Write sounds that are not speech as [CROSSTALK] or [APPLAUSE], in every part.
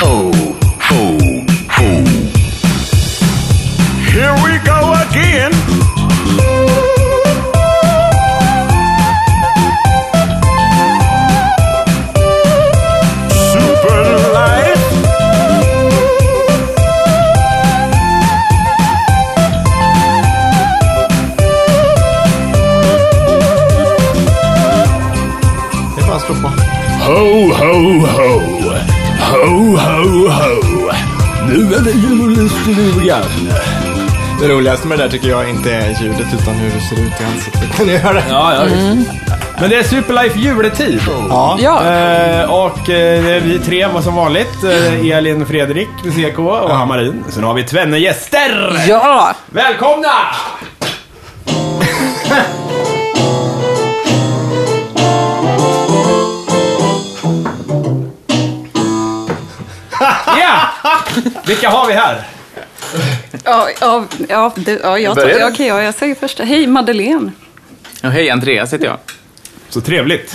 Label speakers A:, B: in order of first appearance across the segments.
A: ho, ho, ho. Here we go again. Super light.
B: Det är bara att slå på.
A: Ho, ho, ho. Ho, ho, ho. Nu är det julstugan.
B: Det roligaste med det där tycker jag inte är ljudet utan hur det ser ut i ansiktet. Kan ni höra? det?
C: Ja, ja, visst. Men det är Superlife juletid.
B: Ja.
D: Ja.
C: Eh, och eh, det är vi tre var som vanligt. Eh, Elin, Fredrik, CK och Hammarin. Sen har vi tvenne gäster.
D: Ja!
C: Välkomna! Ja! Vilka har vi här?
D: Ja, ja, ja, det, ja jag tar,
E: Börjar
D: ja,
E: du?
D: okej, ja, jag säger först. Hej Madeleine.
E: Ja, hej, Andreas heter jag.
C: Så trevligt.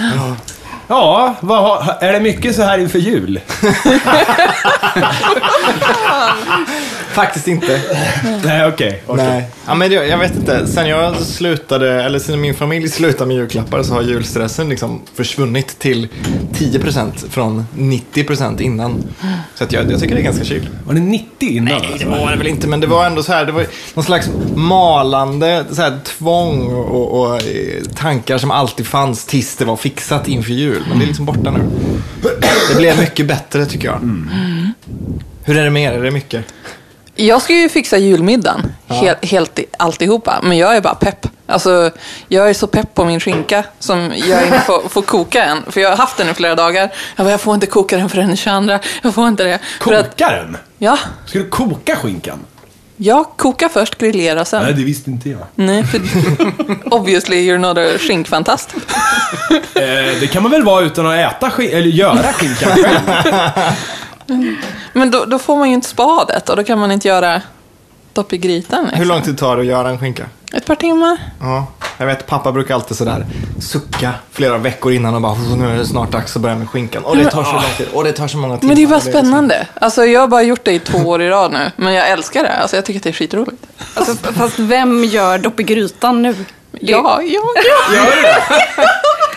C: Ja, vad har, är det mycket så här inför jul?
B: Faktiskt inte.
C: Nej, okej.
B: Nej. Ja, men jag, jag vet inte. Sen jag slutade, eller sen min familj slutade med julklappar så har julstressen liksom försvunnit till 10% från 90% innan. Så att jag, jag tycker det är ganska kyl.
C: Var det 90 innan? Nej,
B: Det var det väl inte, men det var ändå så här, det var någon slags malande så här, tvång och, och eh, tankar som alltid fanns tills det var fixat inför jul. Men det är liksom borta nu. Det blev mycket bättre tycker jag. Mm. Hur är det med er? Är det mycket?
D: Jag ska ju fixa julmiddagen, helt, helt i- alltihopa. Men jag är bara pepp. Alltså, jag är så pepp på min skinka som jag inte får, får koka än. För jag har haft den i flera dagar. Jag, bara, jag får inte koka den förrän den 22. Jag får inte det. För att,
C: Koka den?
D: ja,
C: Ska du koka skinkan?
D: jag kokar först, grillera sen.
C: det visste inte jag.
D: Nej, för [LAUGHS] obviously you're not a skinkfantast.
C: Eh, det kan man väl vara utan att äta skin- eller göra skinkan själv?
D: Men då, då får man ju inte spadet och då kan man inte göra dopp i grytan. Liksom.
B: Hur lång tid tar det att göra en skinka?
D: Ett par timmar.
B: Ja, jag vet pappa brukar alltid sådär sucka flera veckor innan och bara "Åh, nu är det snart dags att börja med skinkan. Och det tar så lång tid och det tar så många timmar.
D: Ah. Men det är bara
B: Och liksom-
D: spännande. Alltså, jag har bara gjort det i två år i rad nu, men jag älskar det. Alltså, jag tycker att det är skitroligt.
F: Alltså, f- fast vem gör dopp i grytan nu?
D: Ja, ja, ja.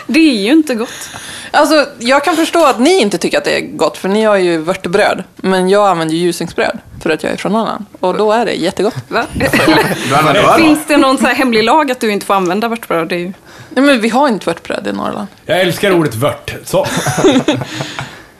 F: Det är ju inte gott.
D: Alltså, jag kan förstå att ni inte tycker att det är gott, för ni har ju vörtebröd. Men jag använder ju ljusningsbröd, för att jag är från Norrland. Och då är det jättegott.
F: Va?
E: Du använder öl?
F: Finns det någon så här hemlig lag att du inte får använda vörtbröd? Det är ju...
D: Nej, men vi har inte vörtbröd i Norrland.
C: [LAUGHS] Jag älskar ordet vört. Så.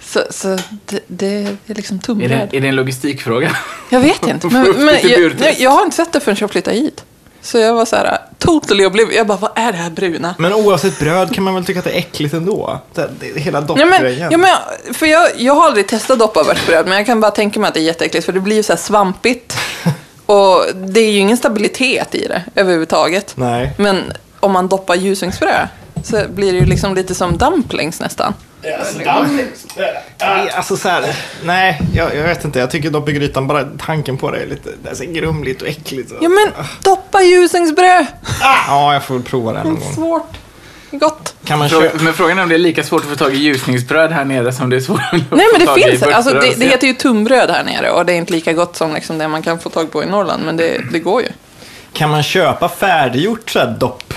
D: Så, så det, det är liksom
E: Är
D: tunnbröd.
E: det, är det en logistikfråga?
D: Jag vet inte. Men, [LAUGHS]
E: Frukt i
D: men jag,
E: burtest.
D: jag, jag har inte sett det förrän jag flyttade hit. Så jag var så här, totally oblivious. Jag bara, vad är det här bruna?
B: Men oavsett bröd kan man väl tycka att det är äckligt ändå? Det, här- det, hela
D: Ja, men,
B: doppgrejen.
D: ja, men, för jag, jag har aldrig testat dopp av vörtbröd, men jag kan bara tänka mig att det är jätteäckligt, för det blir ju så här
B: [LAUGHS]
D: svampigt. Och det är ju ingen stabilitet i det överhuvudtaget.
B: Nej.
D: Men om man doppar ljusungsfrö så blir det ju liksom lite som dumplings nästan.
B: Nej, Alltså så här, nej, jag, jag vet inte. Jag tycker dopp i grytan, bara tanken på det är lite det är så grumligt och äckligt. Så.
D: Ja, men doppa ljusungsbröd!
B: Ah. Ja, jag får väl prova det här någon gång.
D: Svårt. Gott.
B: Kan man
E: Fråga,
B: köpa?
E: men frågan är om det är lika svårt att få tag i ljusningsbröd här nere som det är svårt att
D: Nej, men
E: få tag
D: det
E: i
D: finns. Alltså, det, det
E: vörtbröd.
D: heter ju tunnbröd här nere och det är inte lika gott som liksom det man kan få tag på i Norrland, men det, det går ju.
B: Kan man köpa färdiggjort så här dopp?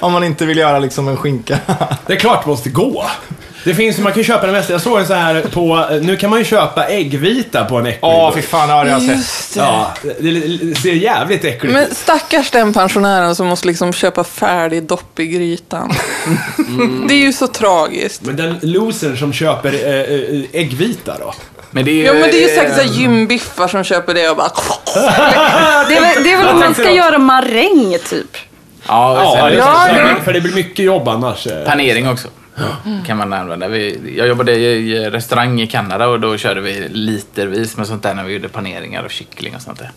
B: Om man inte vill göra liksom en skinka.
C: Det är klart det måste gå. Det finns ju, man kan ju köpa den mesta. Jag såg en så här på, eh, nu kan man ju köpa äggvita på en äcklig
B: Åh, [LAUGHS]
C: burk.
B: fy fan, ja, det har jag sett.
D: Just det.
C: Ja, det, det ser jävligt äckligt ut.
D: Men stackars den pensionären som måste liksom köpa färdig dopp i grytan. Det är ju så tragiskt.
C: Men den losern som köper eh, eh, äggvita då?
E: Men det är ju...
D: Ja men det är ju säkert så här gymbiffar som köper det och bara...
F: Det, är väl, det är väl om man ska göra maräng, typ.
E: Ja,
C: Ja,
E: sen-
C: Alltså, det
D: Ja,
C: är
D: ja.
C: så, för det blir mycket jobb annars. eh.
E: Panering också. Kan man använda. Vi, jag jobbade i restaurang i Kanada och då körde vi litervis med sånt där när vi gjorde paneringar och kyckling och sånt där.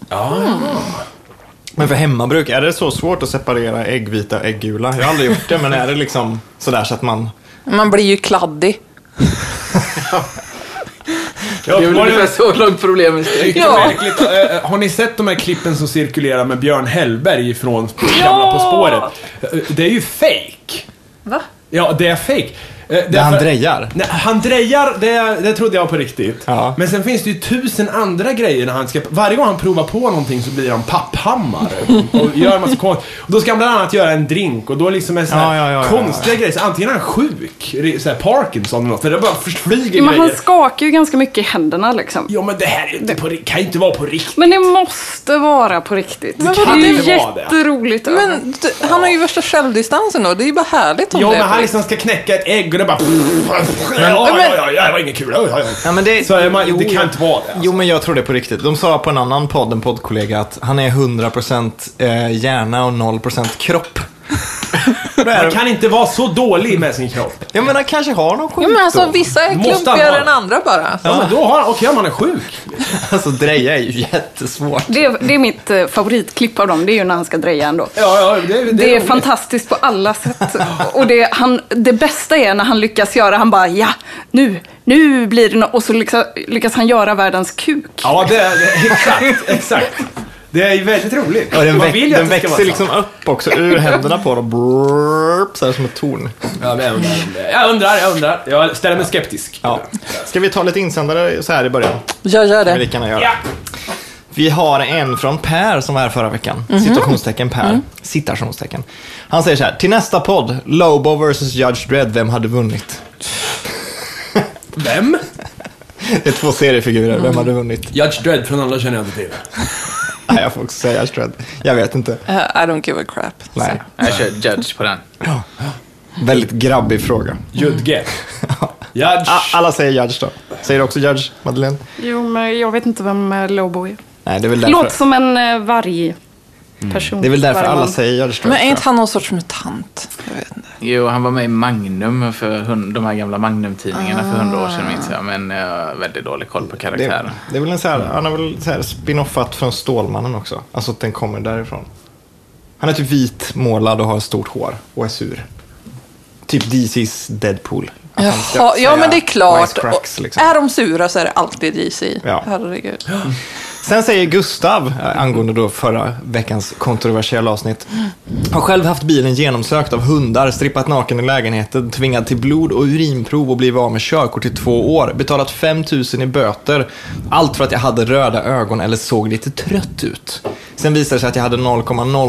B: Men för hemmabruk, är det så svårt att separera äggvita och ägggula? Jag har aldrig gjort det, men är det liksom sådär så att man...
D: Man blir ju kladdig.
C: Ja,
E: Det är väl
C: var det-
E: ungefär så långt problemet
C: Mycket
E: sträcker
D: Ja.
C: märkligt. Eh, Har ni sett de här klippen som cirkulerar med Björn Hellberg från Gamla På spåret? Eh, Det är ju fake.
D: Va?
C: Ja, det är fake. Eh,
B: Där han drejar.
C: Nej, han drejar, det, det trodde jag på riktigt.
B: Ja.
C: Men sen finns det ju tusen andra grejer när han ska... Varje gång han provar på någonting så blir han papphammare.
B: [LAUGHS]
C: Och gör en massa konst. Och då ska han bland annat göra en drink och då liksom är så här
B: Ja, ja, ja, ja,
C: konstiga grejer. Så antingen är han sjuk, re- så här Parkinson eller något. För det bara flyger
F: Men han
C: grejer.
F: skakar ju ganska mycket i händerna liksom.
C: Ja men det här är ju inte på, ri- kan ju inte vara på riktigt.
F: Men det måste vara på riktigt. Det,
C: kan
F: är ju
C: inte vara det.
F: jätteroligt.
D: Men d- han har ju värsta självdistansen då. Det är ju bara härligt om
C: Ja
D: det är
C: men han
D: på
C: liksom ska knäcka ett ägg och det bara... Mm. Ja, ja, ja, ja, det var inget kul. Ja, ja, ja.
B: Ja, men det,
C: Så är man, det kan
B: jag-
C: inte vara det. Alltså.
B: Jo, men jag tror det på riktigt. De sa på en annan podd, en poddkollega, att han är 100% eh, hjärna och 0%
C: [LAUGHS]
B: kropp.
C: Man kan inte vara så dålig med sin kropp.
B: Ja, men han kanske har någon
D: Ja,
B: sjukdom.
D: men alltså vissa är
C: Måste han
D: klumpigare
C: vara?
D: än andra bara.
C: Ja, men då har han... Okej, man är sjuk.
B: Alltså, dreja är ju jättesvårt.
F: Det, är- det är mitt eh, favoritklipp av dem, det är ju när han ska dreja ändå.
C: Ja, ja, det, det,
F: Det är
C: roligt.
F: fantastiskt på alla sätt. Och det, han, det bästa är när han lyckas göra, han bara ja, nu, nu blir det nå-" Och så lyckas, lyckas han göra världens kuk.
C: Ja, det, är- det, exakt, exakt. Det är ju väldigt roligt.
B: Ja, den
C: Man
B: väx-
C: vill ju att
B: den
C: det ska
B: växer
C: vara
B: liksom upp också ur händerna på dem. Brrrp, så här som ett torn.
C: så. Ja, men jag undrar, jag undrar, jag undrar. Jag ställer mig skeptisk.
B: Ja. Ska vi ta lite insändare så här i början?
D: Jag gör
B: Vi
D: det.
B: kan göra.
C: Ja.
B: Vi har en från Per som var här förra veckan.
D: Mhm.
B: Citationstecken Per.
D: Mm.
B: Citationstecken. Han säger så här. Till nästa podd, Lobo vs Judge Dredd, vem hade vunnit?
C: Vem?
B: Det är två seriefigurer, vem
D: Mm.
B: hade vunnit?
C: Judge Dredd från alla känner jag inte till.
B: Nej, jag får också säga Judge Dredd. Jag vet inte.
D: Eh, I don't give a crap.
B: Nej.
E: Jag kör judge på den.
B: Väldigt grabbig fråga.
C: Judge. Mm. Judge.
B: Ah, alla säger Judge då. Säger du också Judge, Madeleine?
F: Jo, men jag vet inte vem eh, Lobo är. Mm.
B: Nej, det är väl därför,
F: Låter som en eh, varg person.
B: det är väl därför
F: Varg
B: alla
F: man.
B: säger Judge Dredd.
D: Men är
B: tror jag.
D: inte han någon sorts mutant? Jag vet inte.
E: Jo, han var med i Magnum, för hund, de här gamla Magnum-tidningarna för hundra år sedan minns jag. Men jag har väldigt dålig koll på
B: Det är,
E: karaktären.
B: det är väl en så här, han har väl så här spinoffat från Stålmannen också. Alltså att den kommer därifrån. Han är typ vit, målad och har stort hår och är sur. Typ DC's Deadpool. Att han ska
D: Jaha, ja
B: säga
D: men det är klart.
B: wisecracks,
D: Och
B: liksom.
D: Är de sura så är det alltid JC.
B: Ja.
D: Herregud.
B: Sen säger Gustav, eh, angående då förra veckans kontroversiella avsnitt, har själv haft bilen genomsökt av hundar, strippat naken i lägenheten, tvingad till blod och urinprov och blivit av med körkort i två år, betalat 5 000 i böter, allt för att jag hade röda ögon eller såg lite trött ut. Sen visade det sig att jag hade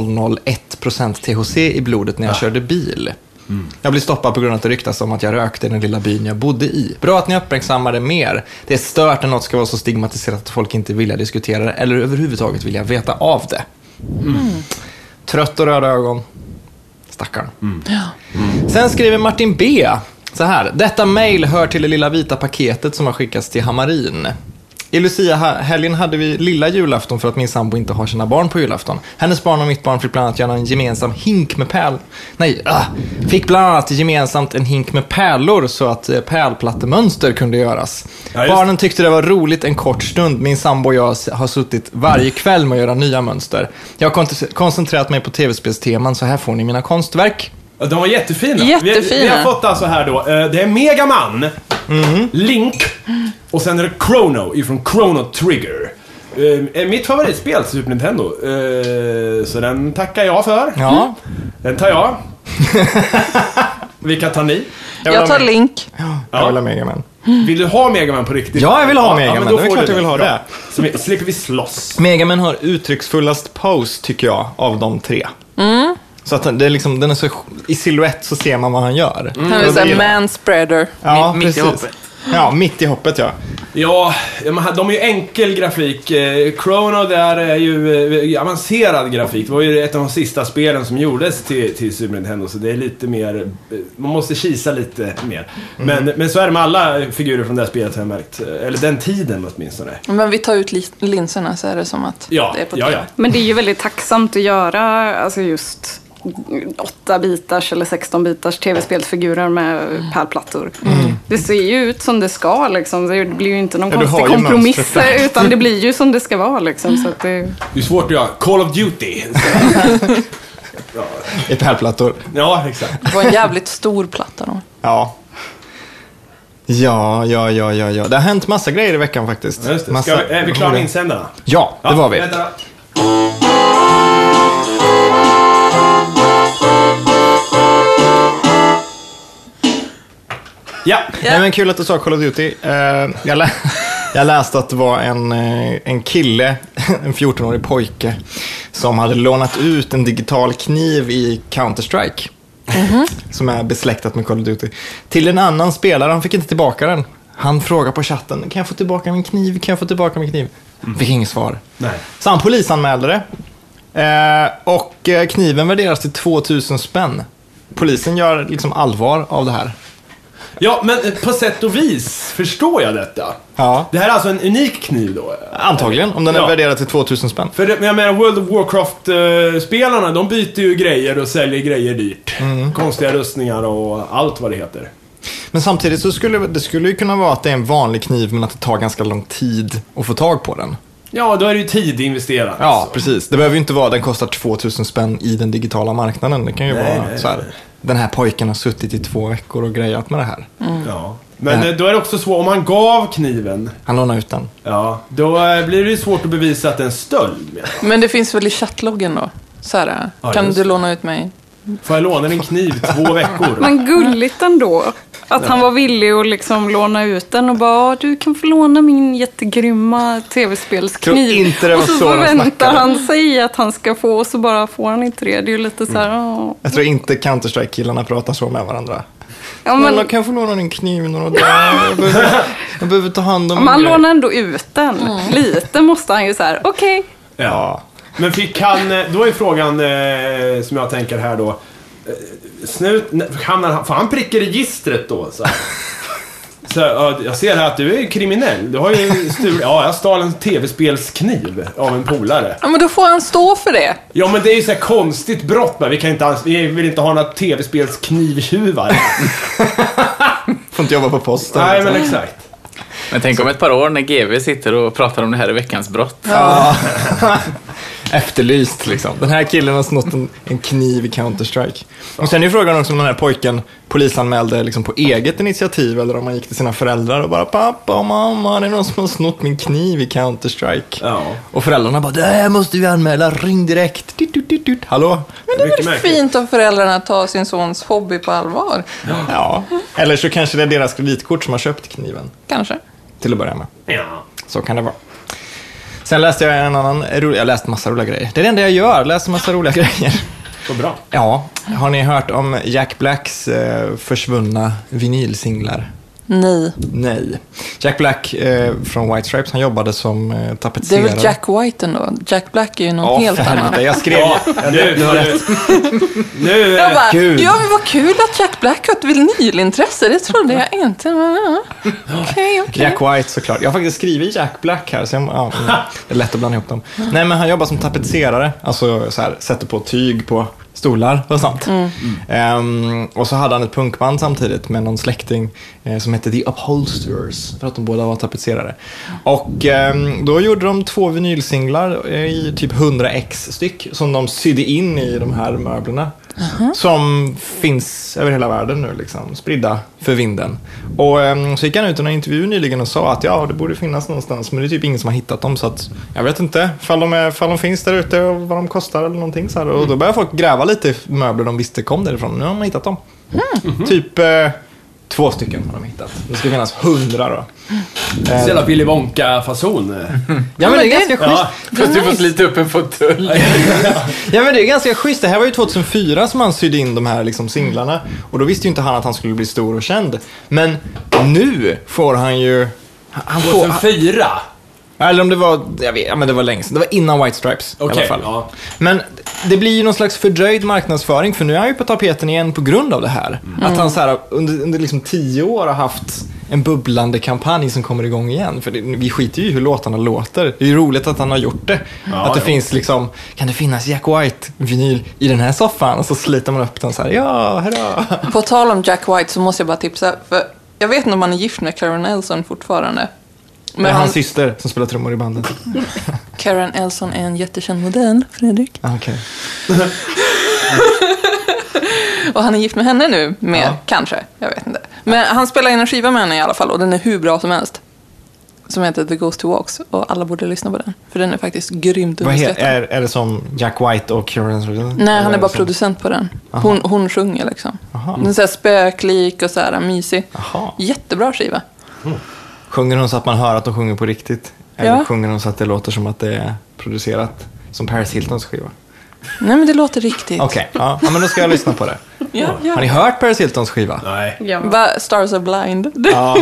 B: 0,001% THC i blodet när jag körde bil. Jag blev stoppad på grund av att det ryktas om att jag rökte i den lilla byn jag bodde i. Bra att ni uppmärksammar det mer. Det är stört när något ska vara så stigmatiserat att folk inte vill diskutera det eller överhuvudtaget vill jag veta av det. Trött och röda ögon. Stackarn. Sen skriver Martin B. Så här. Detta mail hör till det lilla vita paketet som har skickats till Hamarin. I Lucia-helgen hade vi lilla julafton för att min sambo inte har sina barn på julafton. Hennes barn och mitt barn fick bland annat göra en gemensam hink med pärl... Nej, ah, fick bland annat gemensamt en hink med pärlor så att eh, pärlplattemönster kunde göras.
C: Ja, just det.
B: Barnen tyckte det var roligt en kort stund. Min sambo och jag har suttit varje kväll med att göra nya mönster. Jag har kont- koncentrerat mig på tv-spelsteman, så här får ni mina konstverk.
C: Ja, De var jättefina. Vi,
D: Jättefina.
C: vi har fått alltså här då, eh, det är Megaman, Link och sen är det Chrono ifrån Chrono Trigger. Eh, är mitt favoritspel till Super Nintendo. Eh, så den tackar jag för.
B: Ja.
C: Den tar jag. Vilka tar ni?
B: vill
D: Jag
B: ha
D: tar
B: Mega-
D: Link.
B: Jag vill ha Megaman.
C: Vill du ha Megaman på riktigt?
B: Ja, jag vill ha
C: men
B: Megaman.
C: då
B: Det är
C: får
B: klart
C: du
B: jag vill ha
C: Bra.
B: det.
C: Så vi- slipper vi slåss.
B: Megaman har uttrycksfullast pose, tycker jag, av de tre.
E: Mm.
B: Så att den- det är liksom, den är så, i silhuett så ser man vad han gör.
E: Mm.
D: Han är
C: Mm.
B: Och det
D: såhär
B: gillar jag.
D: manspreader.
B: Ja,
E: Mitt- mitt i
B: precis.
E: hoppet.
B: Ja, mitt i hoppet ja.
C: Ja, de har- de har ju enkel grafik. Eh, Chrono där är ju eh, avancerad grafik. Det var ju ett av de sista spelen som gjordes till, till Super Nintendo, så det är lite mer... eh, Man måste kisa lite mer.
B: Mm.
C: Men, men så är det med alla figurer från det här spelet har jag märkt. Eh, Eller den tiden åtminstone.
D: Men vi tar ut li- linserna så är det som att
C: Ja,
D: det är på
C: ja, ja.
F: Men det är ju väldigt tacksamt att göra alltså just 8 bitars eller 16 bitars tv-spelsfigurer med pärlplattor. Det ser ju ut som det ska liksom. Det blir ju inte någon
B: Ja, du har
F: konstig
B: ju
F: kompromiss eh,
B: mönstret
F: utan det blir ju som det ska vara liksom. Så att det...
C: Det är svårt att göra. Call of
D: [LAUGHS]
C: Duty.
B: I pärlplattor.
C: Ja, exakt.
D: Det var en jävligt stor platta då.
B: Ja. Ja, ja, ja, ja, ja. Det har hänt massa grejer i veckan faktiskt.
C: Ja, Just det. Ska
B: Massa
C: vi, är vi klara med
B: roliga-
C: insändarna?
B: Ja, det var vi.
C: Vänta då. Ja.
B: Nej, men kul att du sa Call of Duty. Eh, jag, lä- [LAUGHS] jag läste att det var en, eh, en kille, [LAUGHS] en 14-årig pojke, som hade lånat ut en digital kniv i Counter-Strike. Som är besläktat med Call of Duty. Till en annan spelare, han fick inte tillbaka den. Han frågade på chatten, kan jag få tillbaka min kniv? Kan jag få tillbaka min kniv? Fick inget svar.
C: Nej.
B: Så han polisanmälde det. Eh, och eh, kniven värderas till 2000 spänn. Polisen gör liksom allvar av det här.
C: Ja, men eh, på sätt och vis förstår jag detta.
B: Ja.
C: Det här är alltså en unik kniv då?
B: Antagligen, om den är
C: Ja.
B: värderad till 2000 spänn.
C: För det, men jag menar World of Warcraft-spelarna, de byter ju grejer och säljer grejer dyrt.
B: Mm.
C: Konstiga rustningar och allt vad det heter.
B: Men samtidigt så skulle det skulle ju kunna vara att det är en vanlig kniv men att det tar ganska lång tid att få tag på den.
C: Ja, då är det ju tid alltså. investerat.
B: Ja, precis. Det behöver ju inte vara den kostar 2000 spänn i den digitala marknaden. Det kan ju
C: Nej,
B: vara
C: nej,
B: så här.
C: nej.
B: Den här pojken har suttit i två veckor och grejat med det här.
C: Mm. Ja. Men eh, då är det också så, om han gav kniven,
B: Han lånade ut den.
C: ja, då eh, blir det ju svårt att bevisa att det är en stöld. menar jag.
D: Men det finns väl i chattloggen då? Så här,
C: Ja,
D: kan
C: just
D: du
C: det.
D: låna ut mig?
C: Får jag låna din kniv två veckor?
F: Men gulligt ändå. Att han var villig att liksom låna ut den och bara "Ja, du kan få låna min jättegrymma tv-spelskniv.
B: Tror inte det var
F: och så,
B: så de
F: förväntar
B: snackade.
F: han sig att han ska få och så bara får han inte det. Det är ju lite så här,
B: Mm.
F: "Ah." "Åh."
B: Jag tror inte Counter-Strike-killarna pratar så med varandra.
F: ja,
B: Men...
F: men
B: Kan jag få låna din kniv några dagar? Jag behöver, jag behöver ta hand om
F: Men han
B: min grej."
F: lånar ändå ut den. Lite måste han ju så här, okej.
B: Ja.
C: Men fick han, eh, då är frågan eh, som jag tänker här då. eh, Snut, ne- hamnar han, får han prick i registret då? Så, här? så här, ja, jag ser här att du är kriminell. Du har ju stulit, ja jag stal en tv-spelskniv av en polare.
D: Ja, men då får han stå för det.
C: Ja men det är ju så här konstigt brott men vi kan inte alls, vi vill inte ha några tv-spelsknivtjuvar.
B: Får inte jobba på posten.
C: Nej men exakt.
E: Men tänk om ett par år när GV sitter och pratar om det här i Veckans brott.
B: Efterlyst liksom. Den här killen har snott en, en kniv i Counter-Strike. Och sen är ju frågan också om den här pojken polisanmälde liksom på eget initiativ eller om han gick till sina föräldrar och bara pappa och mamma det är någon som har snott min kniv i Counter-Strike.
C: Ja.
B: Och föräldrarna bara det här måste vi anmäla, ring direkt. Dit, dit, dit, dit. Hallå?
D: Men det är
C: Mycket
D: väl
C: märkligt.
D: fint av föräldrarna att ta sin sons hobby på allvar?
B: Ja. Eller så kanske det är deras kreditkort som har köpt kniven
D: Kanske.
B: till att börja med.
C: Ja.
B: Så kan det vara. Sen läste jag en annan rolig, jag läste massa roliga grejer. Det är det enda jag gör, läser massa roliga [LAUGHS] grejer.
C: Så bra.
B: Ja, har ni hört om Jack Blacks eh, försvunna vinylsinglar?
D: Nej.
B: Nej. Jack Black eh, från White Stripes, han jobbade som eh,
D: Det är
B: tapetserare.
D: väl Jack White ändå? Jack Black är ju någon
B: Ja,
D: helt
B: för
C: [LAUGHS]
D: annan.
B: helvete. Jag skrev...
C: Ja, nu, nu, nu,
D: Jag bara,
B: Gud.
D: ja men vad kul att Jack Black har ett vinylintresse. Det trodde jag
C: [LAUGHS]
D: inte. men ja. Okej, okej.
B: Jack White såklart. Jag har faktiskt skrivit Jack Black här, så jag, ja, mm, det är lätt att blanda ihop dem. Nej, men han jobbar som tapetserare, alltså så här, sätter på tyg på stolar och sånt. Ehm, och så hade han ett punkband samtidigt med någon släkting eh, som hette The Upholsterers, för att de båda var tapetserare. Och ehm, då gjorde de två vinylsinglar eh, i typ 100 ex styck som de sydde in i de här möblerna. Som finns över hela världen nu, liksom, spridda för vinden. Och ehm, så gick han ut i en intervju nyligen och sa att ja, det borde finnas någonstans, men det är typ ingen som har hittat dem. Så att, jag vet inte ifall de, är, ifall de finns där ute och vad de kostar eller någonting. Så här. Och då började folk gräva lite i möbler de visste kom därifrån. Nu har man hittat dem. Typ eh, två stycken har de hittat. Det ska finnas hundra då.
C: eh, Så jävla Willy Wonka-fason.
B: Ja, men det är ganska schysst.
C: Ja.
E: Fast du får slita upp en fåtölj.
B: Ja men det är ganska schysst. Det här var ju 2004 som han sydde in de här liksom singlarna. Och då visste ju inte han att han skulle bli stor och känd. Men nu får han ju... Han får,
C: 2004.
B: eller om det var, jag vet, ja, men det var länge sedan. Det var innan White Stripes i
C: Okej,
B: alla fall.
C: ja.
B: Men det blir ju någon slags fördröjd marknadsföring för nu är han ju på tapeten igen på grund av det här.
D: Mm.
B: Att han så här, under, under liksom tio år har haft en bubblande kampanj som kommer igång igen. För det, vi skiter ju i hur låtarna låter. Det är ju roligt att han har gjort det. att det
C: ja.
B: finns liksom, kan det finnas Jack White-vinyl i den här soffan? Och så sliter man upp den så här, ja, hurra.
D: På tal om Jack White så måste jag bara tipsa. För jag vet inte om han är gift med Karen Elson fortfarande. Men
B: Med
D: han,
B: hans syster som spelar trummor i bandet.
D: Karen Elson är en jättekänd modell, Fredrik.
B: Ah, okej.
D: Och han är gift med henne nu, med, kanske. Jag vet inte. Men han spelar in en skiva med henne i alla fall och den är hur bra som helst. Som heter The Ghost Who Walks och alla borde lyssna på den. För den är faktiskt grymt
B: Vad heter,
D: underskattad.
B: är, är det som Jack White och Kieran
D: Nej, han är bara
B: producent.
D: producent på den. Hon, hon sjunger liksom. Den är så här spöklik och så här mysig.
B: Jaha.
D: Jättebra skiva.
B: Sjunger hon så att man hör att de sjunger på riktigt? Eller
D: Ja.
B: sjunger hon så att det låter som att det är producerat? Som Paris Hiltons skiva?
D: Nej, men det låter riktigt.
B: Okej, ja. ja, men då ska jag lyssna på det.
D: [LAUGHS] Ja,
B: Har ni
D: ja.
B: hört Paris Hiltons skiva?
C: Nej.
F: Ja.
D: Va, Stars are blind.
B: Ja.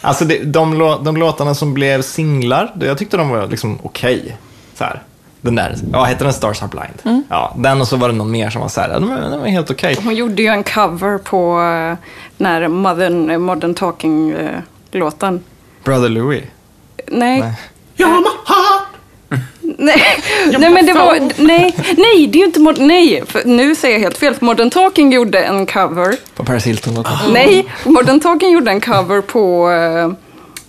B: Alltså det, de, lå- de låtarna som blev singlar, det- jag tyckte de var liksom okej. Så här. Den där, ja hette den Stars Are Blind?
D: Mm.
B: Ja, den och så var det någon mer som var så här, den var, den var helt okej.
F: Hon gjorde ju en cover på eh, den här Modern, modern eh, Talking-låten.
B: Brother Louie.
F: Nej.
B: Nej.
F: [LAUGHS] Nej. nej, men det var... Nej, nej det är ju inte... Mod- nej, för nu säger jag helt fel. För Modern Talking gjorde en cover.
B: På Paris Hilton-låten.
D: Ah.
F: Nej, Modern Talking gjorde en cover på... eh,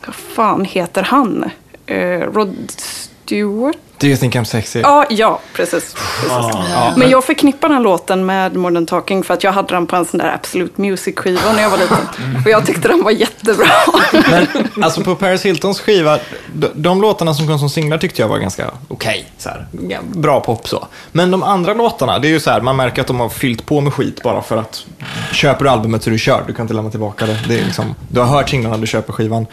F: vad fan heter han? Eh, Rod Stewart?
B: Do you think I'm sexy?
F: Ja, ja, precis. precis. Men jag förknippar den låten med Modern Talking för att jag hade den på en sån där Absolute Music-skiva när jag var liten. Och jag tyckte den var jättebra. [LAUGHS]
B: Men alltså på Paris Hiltons skiva, de, de låtarna som kom som singlar tyckte jag var ganska okej. så här. Ja, bra pop så. Men de andra låtarna, det är ju så här, man märker att de har fyllt på med skit bara för att köper du albumet så är du kör, du kan inte lämna tillbaka det. det är liksom, du har hört singlarna, du köper skivan.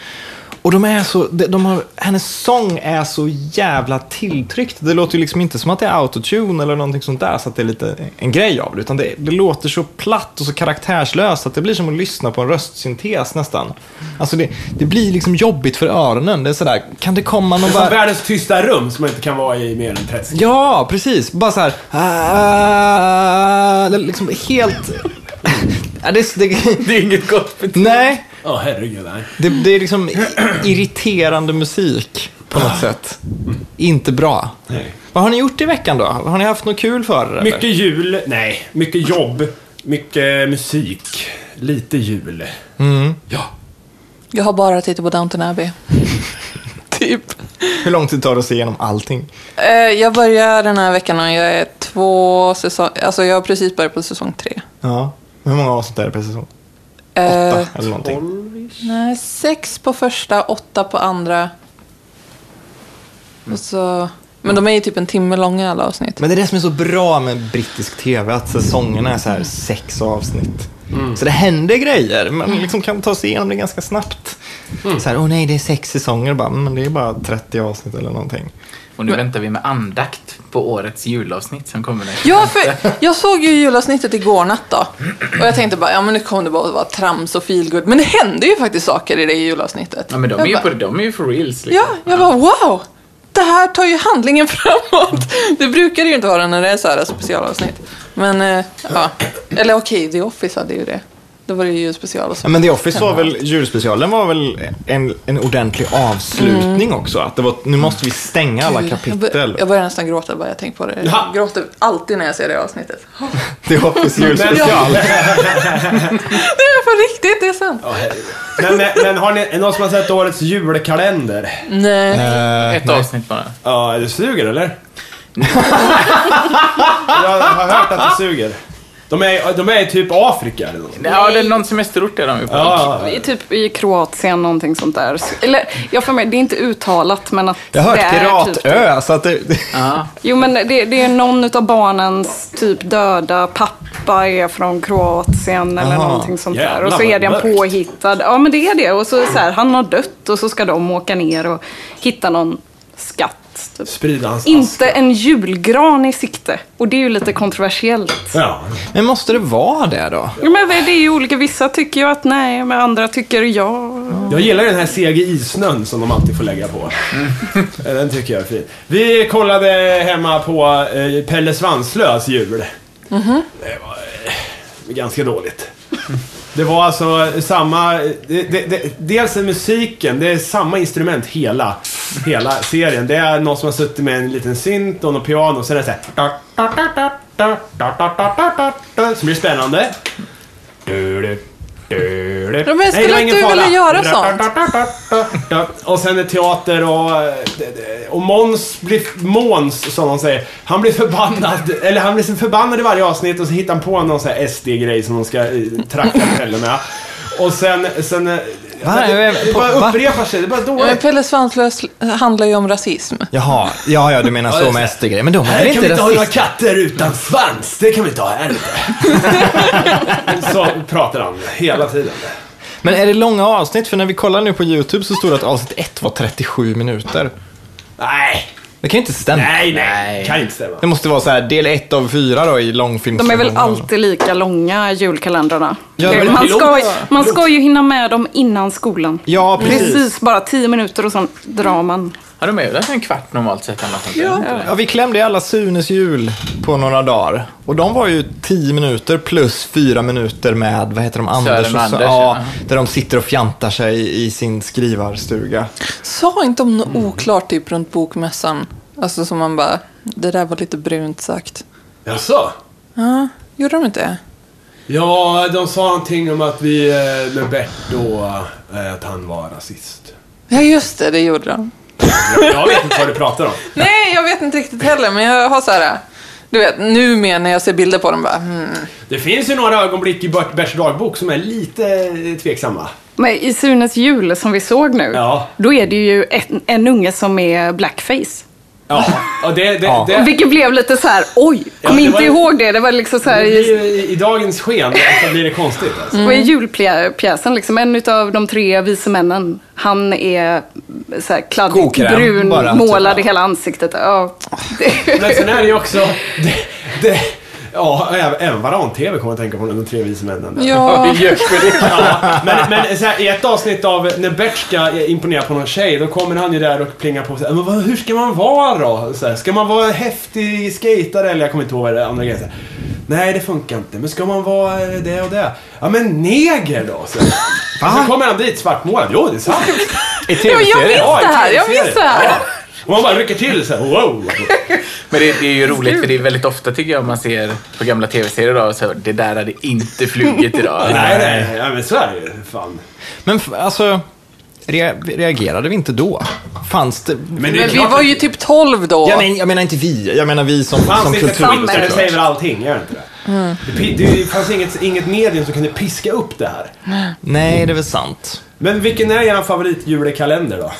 B: Och de är så, de, de har, hennes sång är så jävla tilltryckt. Det låter ju liksom inte som att det är autotune eller någonting sånt där, så att det är lite en grej av det. Utan det, det låter så platt och så karaktärslöst att det blir som att lyssna på en röstsyntes nästan. Alltså det, det blir liksom jobbigt för öronen. Det är sådär, kan det komma någon
C: Det är som
B: bara...
C: världens tysta rum som man inte kan vara i mer än 30 sekunder.
B: Ja, precis. Bara så här... ah, det är liksom helt... [LAUGHS] Ja, det, är- [LAUGHS] det, [LAUGHS]
E: Det är inget gott betyg.
B: nej,
C: Ja, herregud. Nej.
B: det, det är liksom i- irriterande musik på något sätt. Inte bra.
C: Nej.
B: Vad har ni gjort i veckan då? Har ni haft något kul för er? eller?
C: Mycket jul. Nej. Mycket jobb. Mycket musik. Lite jul. Ja.
D: Jag har bara tittat på
E: [LAUGHS]
D: Downton Abbey. typ.
B: Hur lång tid tar det att se igenom allting?
D: Eh, Jag börjar den här veckan och jag är två säsonger... Alltså jag har precis börjat på säsong tre.
B: Ja. Hur många avsnitt är det per säsong? Åtta
D: Eh,
B: eller någonting.
D: nej, sex på första, åtta på andra.
E: Mm.
D: Och så... Men de är ju typ en timme långa alla avsnitt.
B: Men det är det som är så bra med brittisk tv, att säsongerna är så här sex avsnitt. Så det händer grejer, man liksom kan ta sig igenom det ganska snabbt. Så här, åh nej, det är sex säsonger, bara, men det är bara 30 avsnitt eller någonting.
E: Och nu väntar vi med andakt på årets julavsnitt som kommer den
D: Ja, för
E: [LAUGHS]
D: jag såg ju julavsnittet igår natt då. Och jag tänkte bara, ja men nu kommer det bara att vara trams och feelgood. Men det hände ju faktiskt saker i det julavsnittet.
E: Ja, men de är,
D: Jag
E: ju
D: bara-
E: på, de är ju for reals.
C: Typ.
E: Liksom.
D: Ja, jag bara wow! Det här tar ju handlingen [LAUGHS] framåt. Det brukar det ju inte vara när det är så här specialavsnitt. Men, eh, ja. Eller okej, The Office hade ju det. Då var det ju
B: Ja,
D: specialavsnitt.
B: men The Office var väl, julspecialen var väl en, en ordentlig avslutning
F: Mm.
B: också. Att det var, nu måste vi stänga alla
D: Jag, bör,
B: kapitel.
D: jag börjar nästan gråta bara jag tänker på det.
C: Ja.
D: Jag gråter alltid när jag ser det avsnittet.
B: The Office julspecial.
D: [LAUGHS] Det är på riktigt, det är sant.
C: Ja, herregud. Men, men, men har ni är det någon som har sett årets julkalender?
D: Nej.
B: Eh,
E: Ett avsnitt bara.
C: Ja, det suger eller? Jag har hört att det suger. De är, de är i typ Afrika eller något.
E: Ja, det är någon semesterort är de ju på.
C: Ja,
F: I, typ i Kroatien, någonting sånt där. Eller, jag får med, det är inte uttalat, men att
B: Jag har
F: det
B: hört
F: är typ
B: Piratö, så att det...
E: Ja.
F: Jo, men det, det är någon av barnens typ döda pappa är från Kroatien eller
B: Aha.
F: någonting sånt där.
C: Jävlar,
F: Och så är
C: vad
F: det en
C: mörkt.
F: påhittad. Ja, men det är det. Och så, är det så här, han har dött och så ska de åka ner och hitta någon skatt. Typ.
C: Sprida hans
F: Inte en julgran i sikte. Och det är ju lite kontroversiellt.
C: Ja.
B: Men måste det vara det då?
F: Ja, men det är ju olika. Vissa tycker ju att nej, men andra tycker ja.
C: Jag gillar den här CGI-snön som de alltid får lägga på. Den tycker jag är fin. Vi kollade hemma på eh, Pelle Svanslös jul.
D: Mhm.
C: Det var eh, ganska dåligt. Det var alltså samma... Det, det, det, dels är musiken, det är samma instrument hela, hela serien. Det är någon som har suttit med en liten synt och något piano och sen är det så här... Som blir spännande.
D: Men skulle inte du vilja göra sånt?
C: Och sen är teater och... Och Måns blir... Måns, som de säger. Han blir förbannad. Eller han blir så förbannad i varje avsnitt och så hittar han på någon sån här SD-grej som de ska eh, tracka Pelle med. Och sen... sen eh,
B: Va?
C: det, det bara
B: Va?
C: upprepar sig. Det är bara
D: Ja, men
C: dåligt.
D: Pelle Svanslös handlar ju om rasism.
B: Jaha, ja, ja, du menar
C: Ja,
B: så
C: just
B: med
C: det.
B: SD-grejer. Men de är
C: Här
B: väl
C: kan vi
B: inte
C: inte ha några
B: rasister?
C: katter utan svans. Det kan vi inte ha här inte. [LAUGHS] Så pratar han hela tiden.
B: Men är det långa avsnitt? För när vi kollar nu på YouTube så står det att avsnitt 1 var 37 minuter.
C: Nej,
B: Det kan ju inte stämma.
C: nej, nej. Kan inte stämma.
B: Det måste vara så här, del 1 av 4 då i långfilm.
F: De är väl alltid lika långa, julkalendrarna.
B: Ja, men
F: man,
C: pilot-
F: ska, ju- man ska ju hinna med dem innan skolan.
B: Ja, precis.
F: Precis, bara tio minuter och sen drar man.
E: Har du med dig en kvart normalt sett? annars inte? Inte
B: Ja, vi klämde ju alla Sunes jul på några dagar. Och de var ju 10 minuter plus 4 minuter med, vad heter de, Anders
E: Sören
B: och
E: Anders,
B: ja,
E: ja.
B: Där de sitter och fjantar sig i, i sin skrivarstuga.
D: Sa inte om något oklart typ runt bokmässan? Alltså som man bara, det där var lite brunt sagt.
C: Jaså?
D: Ja, gjorde de inte det?
C: Ja, de sa någonting om att vi eh, med Bert då, eh, att han var rasist.
D: Ja, just det, det gjorde de.
C: Jag vet inte vad du pratar om.
D: Nej, jag vet inte riktigt heller, men jag har så här, du vet, nu mer när jag ser bilder på dem bara, hmm.
C: Det finns ju några ögonblick i Bert- Berts dagbok som är lite eh, tveksamma.
F: Men i Sunes jul som vi såg nu,
C: Ja.
F: då är det ju en, en unge som är blackface.
C: Ja, och det... det,
B: Ja.
C: det
F: Vilket blev lite så här, oj,
C: Ja,
F: kom
C: det
F: inte
C: var ju-
F: ihåg det. Det var liksom så här,
C: det
F: i,
C: blir ju i, I dagens sken så blir det konstigt. Alltså.
B: Mm.
F: och i julpjäsen, liksom, en av de tre vise männen, han är så här kladdigt
B: Kokräm,
F: brun,
B: bara, typ.
F: målad i hela ansiktet. Ja, det,
C: Men sen är det ju också... Det, det, ja, även- även Varan-TV kommer jag att tänka på nu, de tre vise männen. där.
D: ja, [LAUGHS]
C: Ja, men men så här, i ett avsnitt av när Bert ska imponera på någon tjej, då kommer han ju där och plingar på så här, men vad, hur ska man vara då? Så här, ska man vara häftig skatare eller jag kommer inte ihåg vad det andra grejen så här, Nej, det funkar inte. Men ska man vara eh, det och det? Ja, men neger då?
D: [LAUGHS]
C: Så, här. så kommer han dit svartmålad. Jo, det är sant.
B: I
D: Ja, men jag
B: tv-serien?
D: minns det här,
C: i
D: jag minns det här.
C: Ja. Och man bara rycker till så här, wow.
E: Men det, det är ju roligt för det är väldigt ofta tycker jag man ser på gamla tv-serier idag och så här, det där hade inte flugit idag.
C: [LAUGHS] Nej, nej, ja, men så är det ju. Fan.
B: Men f- alltså, rea- reagerade vi inte då? Fanns det...
C: Men det är
D: men vi
C: klart
D: var ju typ 12 då.
B: Jag, men, jag menar inte vi, jag menar vi som,
C: Fanns
B: som
C: det inte
B: kultur. Mm.
C: Twitter? Det säger
B: såklart.
C: väl allting, gör det inte det? Det, pi- det fanns inget, inget medium som kunde piska upp det här.
B: Nej, det är väl sant.
C: Men vilken är er favoritjulekalender då?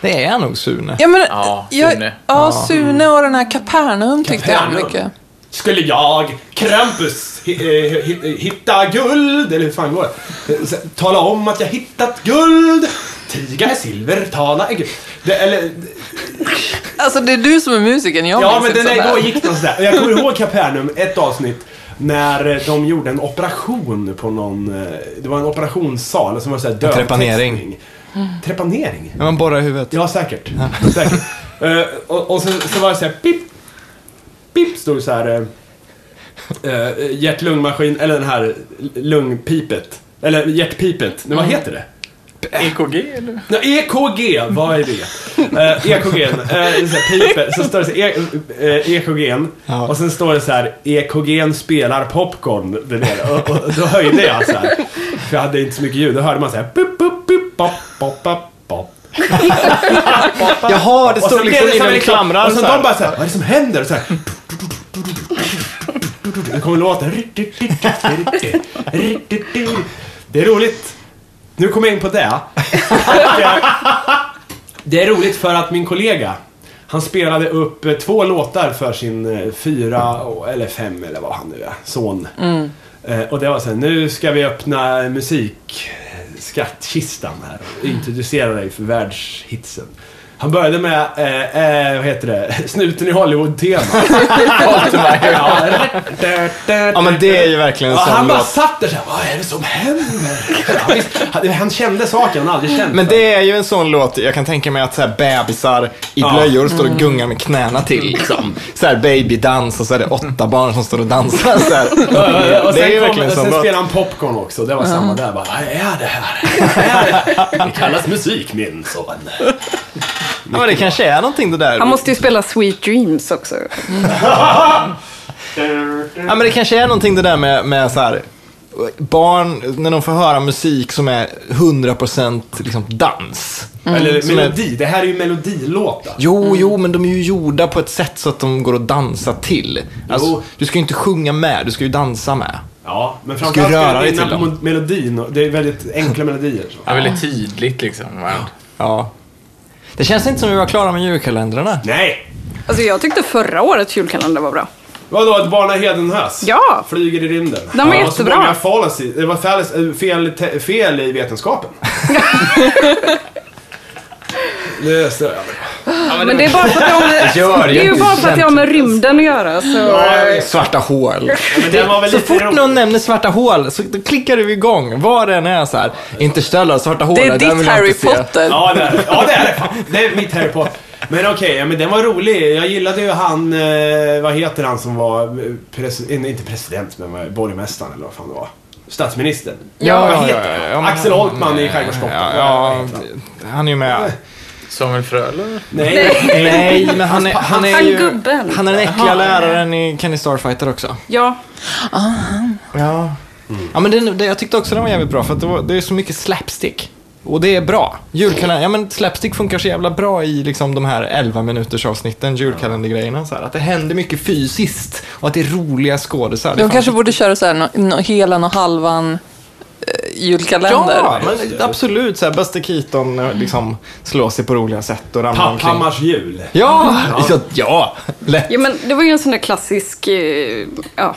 B: Det är nog Sune.
D: Ja, men,
E: Ja,
D: Jag,
E: Sune.
D: ja, Sune och den här Kapernaum tyckte jag
C: Kapernaum.
D: mycket.
C: Skulle jag, Krampus, hi- eh, hi- hitta guld, eller hur fan går det? Eh, s- Tala om att jag hittat guld, tiga är silver, tala är guld. Det, eller,
D: Alltså det är du som är musiken, jag
C: ja
D: minns
C: men
D: inte
C: den
D: sånt
C: där
D: här.
C: går gick den sådär. Och Jag kommer ihåg Kapernaum, ett avsnitt, när eh, de gjorde en operation på någon, eh, det var en operationssal som var såhär dövtextning.
B: trepanering.
C: Trepanering?
B: Ja, man borrar i huvudet.
C: Ja, säkert. säkert. Eh, och och så, så var det så här, pip, pip, stod det så här. Uh, Hjärt-lungmaskin, eller den här lungpipet. Eller hjärtpipet. Nej, vad heter det?
E: EKG eller?
C: Nej, EKG, vad är det? Uh, EKG, uh, så här, pipet. Så står det så här, e, EKG.
B: Ja.
C: Och sen står det så här, EKG spelar popcorn. Det där. Och, och då höjde jag så här. För jag hade inte så mycket ljud. Då hörde man så här, pip, pip, pip, pop, pop, pop, pop.
B: Jaha, det
C: Och
B: står liksom
C: så blev det som
B: innan
C: en
B: vi
C: reklam.
B: klamrar
C: Och så
B: så här.
C: de bara såhär, vad är det som händer? Och så här, det kommer låten. Det är roligt. Nu kommer jag in på det. Det är roligt för att min kollega, han spelade upp eh, två låtar för sin eh, fyra, och- eller fem eller vad han nu är, son. Eh, Och det var så här, nu ska vi öppna musik skattkistan här och introducera dig för världshitsen. Han började med, eh, eh, vad heter det, [LAUGHS] snuten
B: [LAUGHS]
C: i Hollywood-tema. ja,
B: Ja, men det är ju verkligen en
C: Ja,
B: sån
C: han bara
B: låt.
C: satt där såhär, vad är det som händer? Ja, visst, han- han kände saken han aldrig känt.
B: Men det är ju en sån låt, jag kan tänka mig att så här bebisar i
C: Ja. Mm.
B: blöjor står och gungar med knäna till. Liksom. Så här babydans och så är det åtta barn som står och dansar. Så här.
C: [LAUGHS] Ja,
B: Det
C: och sen,
B: är ju
C: kom,
B: verkligen en sån
C: sen
B: låt.
C: spelade han popcorn också. Det var samma där. Bara, vad är det här? Det kallas musik min son.
F: Mm.
B: Ja, men det kanske är någonting det där.
F: han måste ju spela Sweet Dreams också.
B: Ja, men det kanske är någonting det där med, med så här, barn, när de får höra musik som är 100% liksom dans.
C: Eller
B: Som
C: melodi. Det här är ju melodilåtar.
B: Jo, jo, men de är ju gjorda på ett sätt så att de går att dansa till. Alltså,
C: Jo.
B: du ska ju inte sjunga med, du ska ju dansa med.
C: Ja, men
B: ska
C: framförallt
B: röra
C: ska
B: dig
C: det vinna
B: till
C: på melodin. och- Det är väldigt enkla melodier. Så.
E: Ja, väldigt tydligt liksom. va?
B: Ja. Det känns inte som vi var klara med julkalendrarna.
C: Nej!
F: Alltså jag tyckte förra årets julkalender var bra.
C: Vadå, att barna hedenhös?
F: Ja.
C: Flyger i rymden.
F: De var
C: ja,
F: jättebra.
C: Så många fallacy, det var fallacy, eh, fel, te- fel i
F: [LAUGHS]
C: vetenskapen. det stör jag mig.
F: Men det är bara för att jag har
B: [LAUGHS]
F: med,
B: Gör
F: det är ju
B: inte
F: bara för att jag har med rymden att göra. Så.
B: Svarta hål.
C: Men den var väl
B: Så
C: lite
B: fort
C: rolig.
B: någon nämner svarta hål så då klickar du igång. Vad det än är så här. Interstellar, svarta hål.
D: Det
B: den
D: är
B: vill
D: ditt
B: jag
D: Harry
B: inte se.
D: Potter.
C: Ja, det är det. Ja, det är det. Fan, Det är mitt Harry Potter. Men okej, ja, men den var rolig. Jag gillade ju han, eh, vad heter han som var, pres- eh, inte president, men var borgmästaren eller vad fan det var. Statsministern.
B: Ja,
C: vad
B: ja,
C: heter
B: ja,
C: han?
B: ja, men- eh,
C: Axel Holtman i Skärgårdskocken.
B: Ja, ja, han är ju med.
E: Samuel Frölund?
C: Nej,
B: Nej, men han är, han är
F: han
B: ju...
F: gubben.
B: Han är den äckliga läraren i Kenny Starfighter också.
F: Ja,
B: Ja. Ja, men den, den, jag tyckte också den var jävligt bra för att det, var, det är så mycket slapstick. Och det är bra. Julkalender, ja men slapstick funkar så jävla bra i liksom de här 11 minuters avsnitten, julkalendergrejerna så här. Att det händer mycket fysiskt och att det är roliga skådisar. Det
D: De
B: fanns-
D: kanske borde köra så här, nå- nå- helan och halvan eh, julkalender.
B: Ja, men absolut. Så här, Buster Keaton eh, liksom slår sig på roliga sätt och ramlar omkring.
C: Papphammars jul.
B: Ja, [LAUGHS] ja, ja, lätt.
F: Ja, men det var ju en sån där klassisk, eh, ja,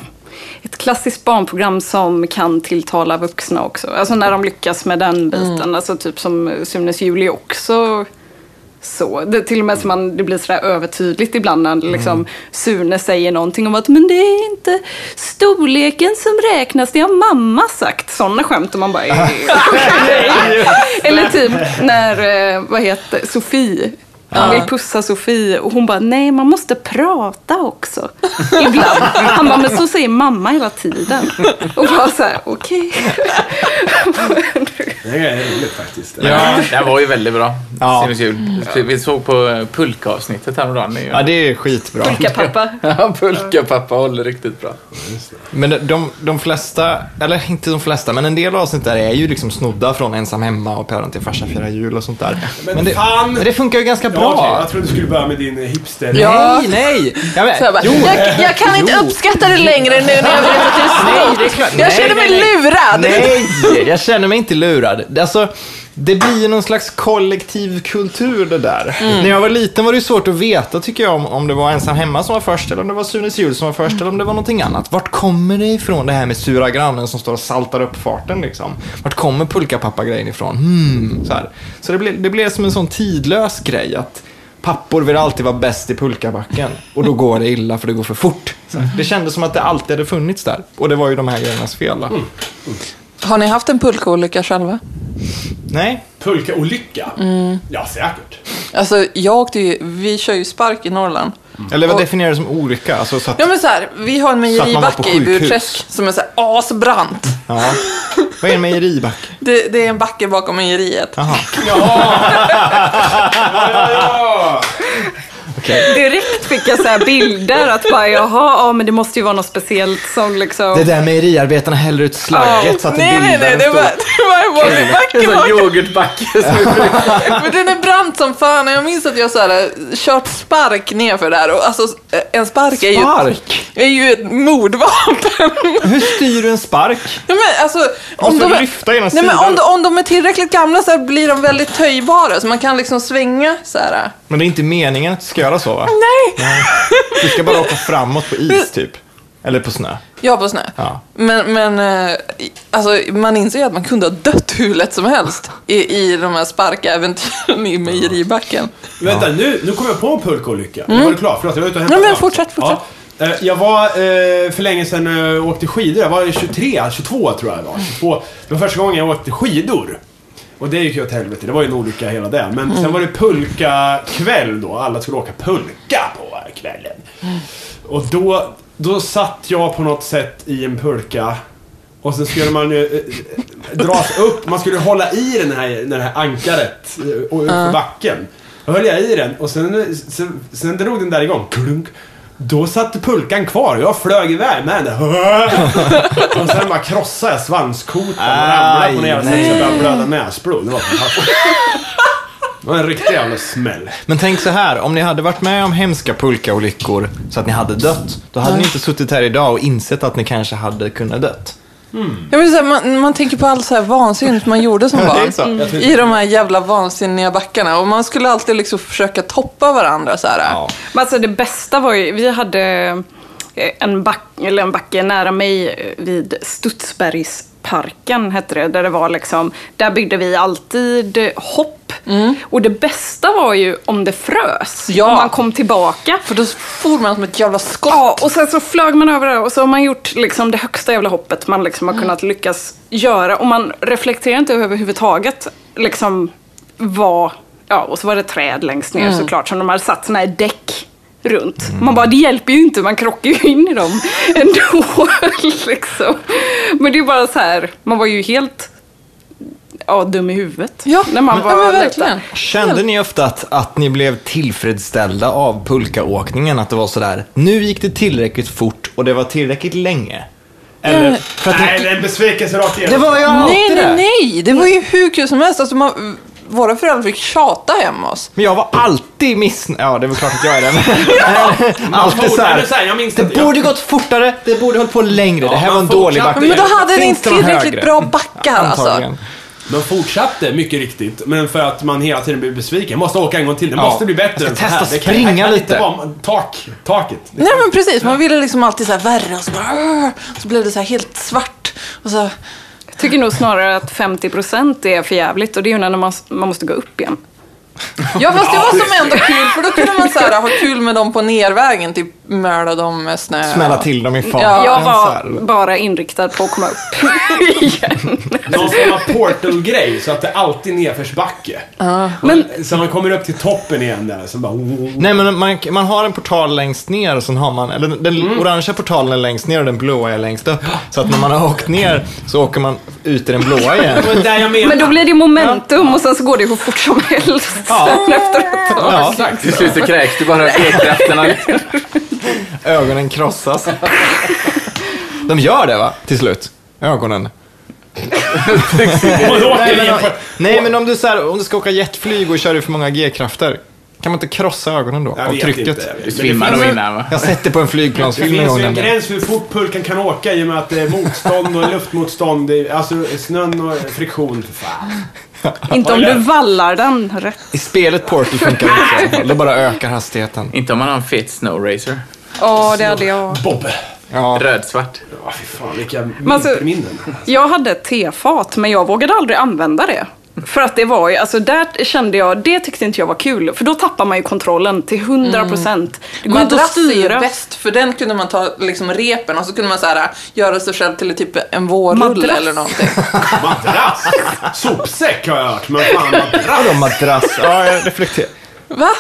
F: ett klassiskt barnprogram som kan tilltala vuxna också. Alltså när de lyckas med den biten, alltså typ som Sunes juli också. Så. Det, till och med så man, det blir sådär övertydligt ibland när liksom, Sune säger någonting om att men det är inte storleken som räknas, det har mamma sagt. Sådana skämt och man bara "Eh, okej." [LAUGHS] Eller typ när, eh, vad heter Sofie, han vill pussa Sofie och hon bara nej man måste prata också. [LAUGHS] Ibland. Han bara men så säger mamma hela tiden. Och bara såhär okej. [LAUGHS]
C: Det är roligt faktiskt.
E: Ja. Den var ju väldigt bra.
B: Ja.
E: Sinus jul. Vi såg på eh, pulka-avsnittet häromdagen. Det är ju-
B: Ja, det är skitbra.
F: Olika pappa.
E: Ja, pulka pappa håller riktigt bra.
B: Men de- de, de flesta, eller inte de flesta, men en del avsnitt där är ju liksom snodda från Ensam Hemma och Päron till farsa firar jul och sånt där.
C: Men
B: det,
C: fan!
B: men det funkar ju ganska
C: Ja, okej,
B: bra.
C: jag trodde du skulle börja med din eh, hipster...
D: Ja.
B: Nej, nej! Jag,
D: Så jag, bara, jag, jag kan inte uppskatta det längre nu när jag vet att det är snyggt.
B: det är klart.
D: Jag
B: Nej,
D: känner mig
B: nej, nej.
D: lurad.
B: Nej, jag känner mig inte lurad. Alltså, det blir ju någon slags kollektiv kultur det där. När jag var liten var det ju svårt att veta tycker jag om, om det var Ensam Hemma som var först eller om det var Sunes Jul som var först eller om det var någonting annat. Vart kommer det ifrån det här med sura grannen som står och saltar upp farten liksom? Vart kommer pulkapappa-grejen ifrån? Hmm, så här. så det, blev, det blev som en sån tidlös grej att Pappor vill alltid vara bäst i pulkabacken och då går det illa för det går för fort. Så här. Det kändes som att det alltid hade funnits där och det var ju de här grejernas fel. Då.
D: Har ni haft en pulkaolycka själva?
B: Nej.
C: Pulka-olycka?
B: Mm.
C: Ja, säkert.
D: Alltså, jag åkte ju, vi kör ju spark i Norrland.
B: Eller vad
D: Och-
B: definierar du som olycka? Alltså, så att,
D: Ja men så här, vi har en
B: Så att man var på
D: mejeribacke i
B: sjukhus.
D: Burträsk som är så här asbrant.
B: ja. Vad är en mejeribacke?
D: Det, det är en backe bakom mejeriet.
B: Jaha,
C: Ja, ja.
B: okej.
F: Direkt fick jag så här bilder att bara jaha, ja, men det måste ju vara något speciellt som liksom.
B: Det där mejeriarbetarna häller ut slagget så att det
D: nej, nej,
B: bildar
D: nej,
B: en
D: det
B: stor...
D: var, det var en vanlig
E: En
D: backe
E: sån
D: bakom.
E: yoghurtbacke som är
D: Men den är brant som fan och jag minns att jag så här, eh, kört spark nerför där och alltså en spark är ju,
B: Spark?
D: är ju ett mordvapen.
B: [LAUGHS] Hur styr du en spark?
D: Ja, men alltså, om,
B: Måste
D: de
B: du
D: är,
B: lyfta ena
D: nej, men
B: sidan?
D: om, de, om de är tillräckligt gamla så här blir de väldigt töjbara så man kan liksom svänga så här.
B: Men det är inte meningen att du ska göra så va?
D: Nej!
B: Du ska bara åka framåt på is typ. Eller på snö.
D: Ja, på snö.
B: Ja.
D: Men, men eh, alltså, man inser ju att man kunde ha dött hur lätt som helst i, i de här sparkäventyren i mejeribacken.
C: Vänta, nu, nu kom jag på en pulkaolycka. Nu Var du klar? Förlåt, jag var ute och hämtade
D: Mm. Nej, men
C: vatten.
D: fortsätt, fortsätt.
C: Ja. Eh, Jag var eh, för länge sedan eh, och åkte skidor. Jag var 23, 22 tror jag jag var. 22. Det var första gången jag åkte skidor. Och det gick ju åt helvete. Det var ju en olycka hela den. Men
D: Mm.
C: sen var det pulka kväll då. Alla skulle åka pulka på kvällen. Och då, då satt jag på något sätt i en pulka och sen skulle man ju eh, eh, dras upp, man skulle hålla i den här, den här ankaret eh, och upp för backen. Då höll jag i den och sen, eh, sen, sen drog den där igång. Klunk. Då satt pulkan kvar och jag flög iväg med den. [LAUGHS] Och sen bara krossade jag svanskotan och ramlade på den jävla sängen och började blöda näsblod. Det var fantastiskt. Det var en riktig jävla smäll.
B: Men tänk så här, om ni hade varit med om hemska pulkaolyckor så att ni hade dött, då hade ni inte suttit här idag och insett att ni kanske hade kunnat dött.
D: Jag vill säga, man, man tänker på allt så här vansinnigt man gjorde
B: [LAUGHS]
D: som
B: Ja, det är
D: barn.
B: så.
D: Mm. I de här jävla vansinniga backarna. Och man skulle alltid liksom försöka toppa varandra så här.
B: Ja.
F: Men alltså det bästa var ju, vi hade eh, en, back, eller en backe nära mig eh, vid Studsbergsparken hette det, där det var liksom, där byggde vi alltid eh, hopp. Och det bästa var ju om det frös,
D: Mm. Ja.
F: om man kom tillbaka.
D: För då for man som ett jävla skott.
F: Ja, och sen så flög man över det och så har man gjort liksom det högsta jävla hoppet man liksom har kunnat lyckas göra. Och man reflekterar inte överhuvudtaget liksom vad... Ja, och så var det träd längst ner
D: Mm.
F: såklart som de hade satt såna här däck runt. Man bara, det hjälper ju inte, man krockar ju in i dem [LAUGHS] ändå. liksom. Men det är bara så här, man var ju helt ja, dum i huvudet.
D: Ja,
F: när man var
D: ja men
F: liten.
D: verkligen.
B: Kände ni ofta att, att ni blev tillfredsställda av pulkaåkningen? Att det var sådär, nu gick det tillräckligt fort och det var tillräckligt länge? Eller, för att
C: Eh, Nej,
B: ni,
C: det är en besvikelse rakt
B: det
C: igenom.
B: var ju
D: Nej,
B: alltid
D: nej,
B: det.
D: nej. Det var ju hur kul som helst. Alltså, man, våra föräldrar fick tjata hem oss.
B: Men jag var alltid missnöjd. Ja, det är väl klart att jag är
D: [LAUGHS]
B: det. [LAUGHS] Men- alltid
C: borde-
B: såhär.
C: eller så här, jag minns
B: det
C: inte. Jag-
B: borde gått fortare, det borde hållit på längre. det här
C: man
B: var en
C: får
B: dålig
C: knappt-
B: backe.
D: Men då hade ni
B: Finns
D: inte
B: det någon
D: tillräckligt
B: högre?
D: bra backar alltså.
B: Antagligen.
C: De fortsatte, mycket riktigt. Men för att man hela tiden blir besviken. Måste åka en gång till. Det
B: Ja.
C: måste bli bättre.
B: Jag ska
C: än så här.
B: testa
C: Det kan-
B: springa
C: det kan inte
B: lite.
C: vara- Tak. Taket.
D: Nej men precis, man ville liksom alltid så här värre och så bara, "Åh!" Så blev det så här helt svart. Och så,
F: Jag tycker nog snarare att 50% är för jävligt och det är ju när man, man måste gå upp igen.
D: ja fast det var som ändå kul för då kunde man så här, ha kul med dem på nervägen, typ möla dem med snö.
B: Smälla till dem i farten.
D: Ja,
F: Jag
B: så
F: var
B: här.
F: bara inriktad på att komma [LAUGHS] upp igen.
C: Någon form av portal-grej så att det alltid är nedförsbacke. Men... Så man kommer upp till toppen igen där. Så bara...
B: Nej men man, man har en portal längst ner och sen har man, eller den, den
C: Mm.
B: orangea portalen är längst ner och den blåa är längst upp. Så att när man har åkt ner så åker man ut i den blåa igen.
C: Det var där jag menade.
F: Men då blir det momentum och sen så går det hur fort som helst [LAUGHS] sen efter ett tag.
B: Ja,
E: Till slut så kräks du bara [LAUGHS] av e-krafterna.
B: ögonen krossas. De gör det va, till slut? Ögonen.
C: Och [LAUGHS] man
B: Nej
C: åker
B: men,
C: igen
B: om,
C: på-
B: nej, men om, du, så här, om du ska åka jetflyg och kör i för många g-krafter, kan man inte krossa ögonen då?
C: Jag
B: av
C: vet
B: trycket?
C: inte, jag vet
E: Du
C: inte.
E: svimmar
C: Det
E: nog
C: finns-
E: innan va?
B: Jag har sett det på en
C: Det
B: flygplansfilm en
C: finns
B: gång.
C: ju en
B: nämligen.
C: gräns för hur fort pulkan kan åka i och med att det är motstånd och luftmotstånd. det är- Alltså snön och friktion. För fan.
F: Inte om du vallar den rätt.
B: I spelet Portal funkar det inte så i alla fall. Det bara ökar hastigheten.
E: Inte om man har en fet snow racer.
F: Ja, det hade jag.
C: Bobbe.
B: Ja.
E: Rödsvart.
C: Ja, fy fan vilka
F: alltså-
C: minnen.
F: Jag hade ett tefat, men jag vågade aldrig använda det. För att det var ju, alltså där kände jag, det tyckte inte jag var kul. För då tappar man ju kontrollen till 100 procent. Mm. Det går inte att
D: Madrass är ju
F: styra.
D: bäst för den kunde man ta liksom repen och så kunde man så här, göra sig själv till typ en vårrulle
F: Madrass.
D: eller någonting.
C: Madrass! Sopsäck har jag hört, men fan madrass.
B: Vadå madrass? Ja, jag reflekterar.
D: Va?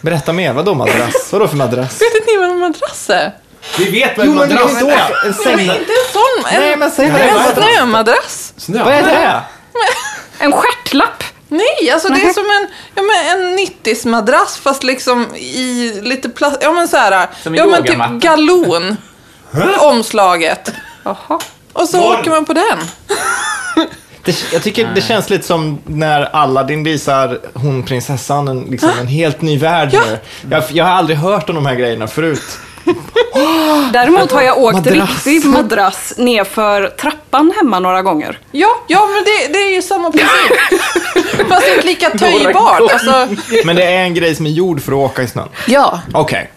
B: Berätta mer, vadå madrass? Vadå för madrass?
D: Vet inte ni vad en madrass är?
C: Vi vet vad en madrass är.
B: en
D: Nej, men inte en sån! En,
B: Nej, men säg vad det
D: en
B: är.
D: snömadrass.
C: Snö.
B: Vad är det?
F: En stjärtlapp!
D: Nej, alltså det är som en, ja, men en 90s-madrass fast liksom i lite plast... Ja men så här,
E: Som en
D: ja men typ
E: yogamatta.
D: galon. omslaget.
F: Jaha.
D: Och så
C: Var?
D: åker man på den.
B: det? Jag tycker det känns lite som när Aladdin visar hon prinsessan en, liksom, en helt ny värld
D: Ja.
B: nu. Jag, jag har aldrig hört om de här grejerna förut.
F: Däremot har jag åkt
B: Madrass.
F: riktig madrass nerför trappan hemma några gånger.
D: Ja, ja men det, det är ju samma princip.
B: [LAUGHS]
D: fast det är inte lika töjbart. Alltså,
B: Men det är en grej som är gjord för att åka i snön.
D: ja.
B: Okej.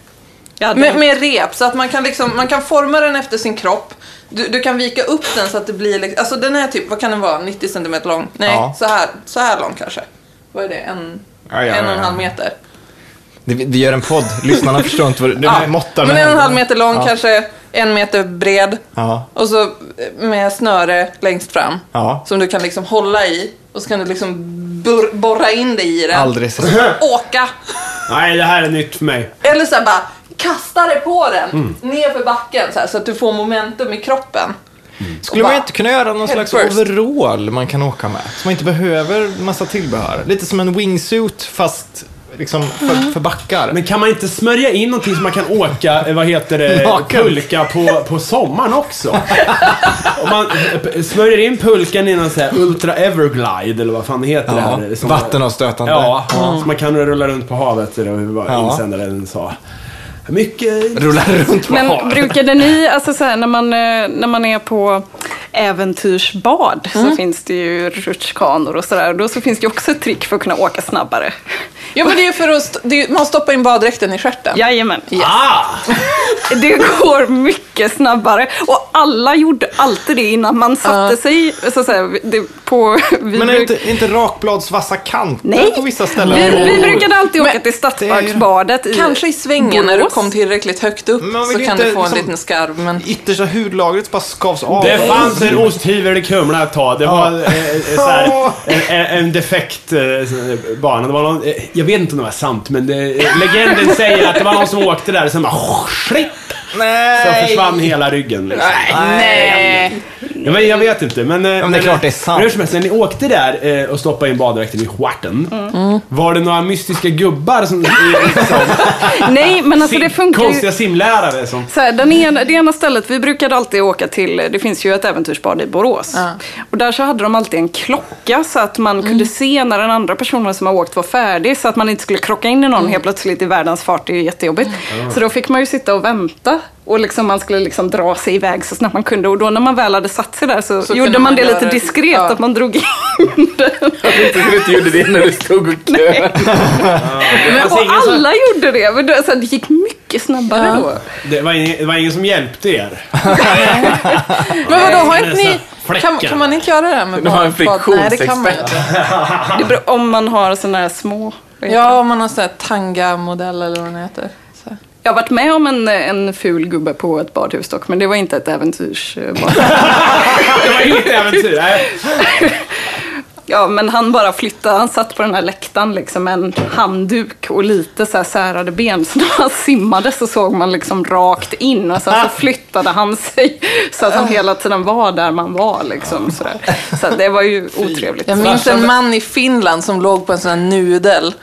F: Jag hade
D: Med, med rep, så att man kan, liksom, man kan forma den efter sin kropp. Du, du kan vika upp den så att det blir... Liksom, alltså den är typ, vad kan den vara? 90 centimeter lång? Nej,
B: Ja.
D: så, här, så här lång kanske. Vad är det? En,
B: Ja, ja,
D: en och en
B: ja,
D: halv
B: ja.
D: meter?
B: Det- Vi, vi gör en podd. Lyssnarna förstår inte vad det
D: Ja, [LAUGHS]
B: är. Måttar
D: men
B: med
D: en och en halv
B: händerna.
D: meter lång
B: Ja.
D: kanske, en meter bred.
B: Ja.
D: Och så eh, med snöre längst fram.
B: Ja.
D: Som du kan liksom hålla i. Och så kan du liksom bur- borra in dig i den.
B: Aldrig sett.
D: Åka.
C: Nej, det här är nytt för mig.
D: Eller så här bara kasta dig på den.
B: Mm.
D: Ner för backen så, här, så att du får momentum i kroppen.
B: Mm. Skulle
D: Och
B: man
D: bara-
B: inte kunna göra någon
D: head
B: slags
D: first.
B: overall man kan åka med? Så man inte behöver massa tillbehör. Lite som en wingsuit fast liksom för, för backar.
C: Men kan man inte smörja in någonting så man kan åka, eh, vad heter det,
B: Naken.
C: pulka på, på sommaren också? Om man eh, p- smörjer in pulkan i någon sån här Ultra Everglide eller vad fan heter det här?
B: ja,
C: Som-
B: vattenavstötande.
C: Ja, så man kan rulla runt på havet eller vad
B: Ja.
C: insändaren sa. Mycket...
B: Rullar runt på
F: Men
B: havet.
F: brukade ni, alltså så här, när, man, eh, när man är på
D: Mm.
F: äventyrsbad så finns det ju rutschkanor och sådär. Då så finns det ju också ett trick för att kunna åka snabbare.
D: Ja, men det är för att st- det är, man stoppar in baddräkten i stjärten.
F: Jajamän.
C: Ah!
F: Det går mycket snabbare. Och alla gjorde alltid det innan man satte sig så att säga, det, på... Vi
B: Men är
F: bruk-
B: inte, inte rakbladsvassa kanter
F: Nej.
B: på vissa ställen?
F: vi, vi brukade alltid åka
D: Men-
F: till Stadsparksbadet. i-
D: Kanske i svängen när du
F: Borås.
D: kom tillräckligt högt upp
B: Men man vill
D: så
B: ju
D: kan
B: inte
D: du få en
B: liksom-
D: liten skarv. Men...
B: Yttersta hudlagret bara skavs av.
C: Det fanns en osthyvel i Kumla ett tag. Det var eh, eh, så här, en, en- en defekt eh, sån här bana. Det var någon, eh, jag vet inte om det var sant, men det, eh, legenden säger att det var någon som åkte där och sen bara oh, shit, så
B: Nej!
C: försvann hela ryggen. Liksom.
D: Nej.
C: Ja, men jag vet inte. Men, eh,
B: men det är klart det är sant.
C: men Hur som helst, när ni åkte där eh, och stoppade in baddräkten i stjärten. Var det några mystiska gubbar som... eh,
F: [LAUGHS] Nej, men alltså
C: sim,
F: det funkar ju.
C: konstiga simlärare som...
F: Så här, den ena, det ena stället, vi brukade alltid åka till, det finns ju ett äventyrsbad i Borås. Och där så hade de alltid en klocka så att man
D: Mm.
F: kunde se när den andra personen som har åkt var färdig. Så att man inte skulle krocka in i någon
D: Mm.
F: helt plötsligt i världens fart, det är ju jättejobbigt. Så då fick man ju sitta och vänta. Och liksom man skulle liksom dra sig iväg så snabbt man kunde. Och då när man väl hade satt sig där så,
D: Så kunde
F: gjorde man
D: man
F: det
D: göra
F: lite
D: det.
F: diskret,
D: Ja.
F: att man drog in
D: [LAUGHS]
F: den.
E: Du inte gjorde det när du stod och köade.
C: Alltså,
F: Och
C: ingen som-
F: alla gjorde det. Men det, så här, det gick mycket snabbare
D: Ja.
F: då.
C: Det var, ingen, det var ingen som hjälpte er. [LAUGHS]
D: Men vadå, har
C: men
D: inte
C: det är
D: ni...
C: så här
D: Kan,
C: fläckar.
D: kan man inte göra det här med
E: De har en
D: bad- bad? Nej, det kan man ju inte.
F: Det beror, om man har sådana här små... vad heter
D: Ja, om man har sån här tanga-modell eller vad den heter. Så.
F: Jag har varit med om en, en ful gubbe på ett badhus dock, men det var inte ett eh, äventyrsbad.
C: Det var inget äventyr. Nej.
F: Ja, men han bara flyttade, han satt på den här läktaren liksom med en handduk och lite så här särade ben. Så när han simmade så såg man liksom rakt in och sen så flyttade han sig så att han hela tiden var där man var liksom. Så, där. så att det var ju otrevligt.
D: Jag minns en man i Finland som låg på en sån här nudel.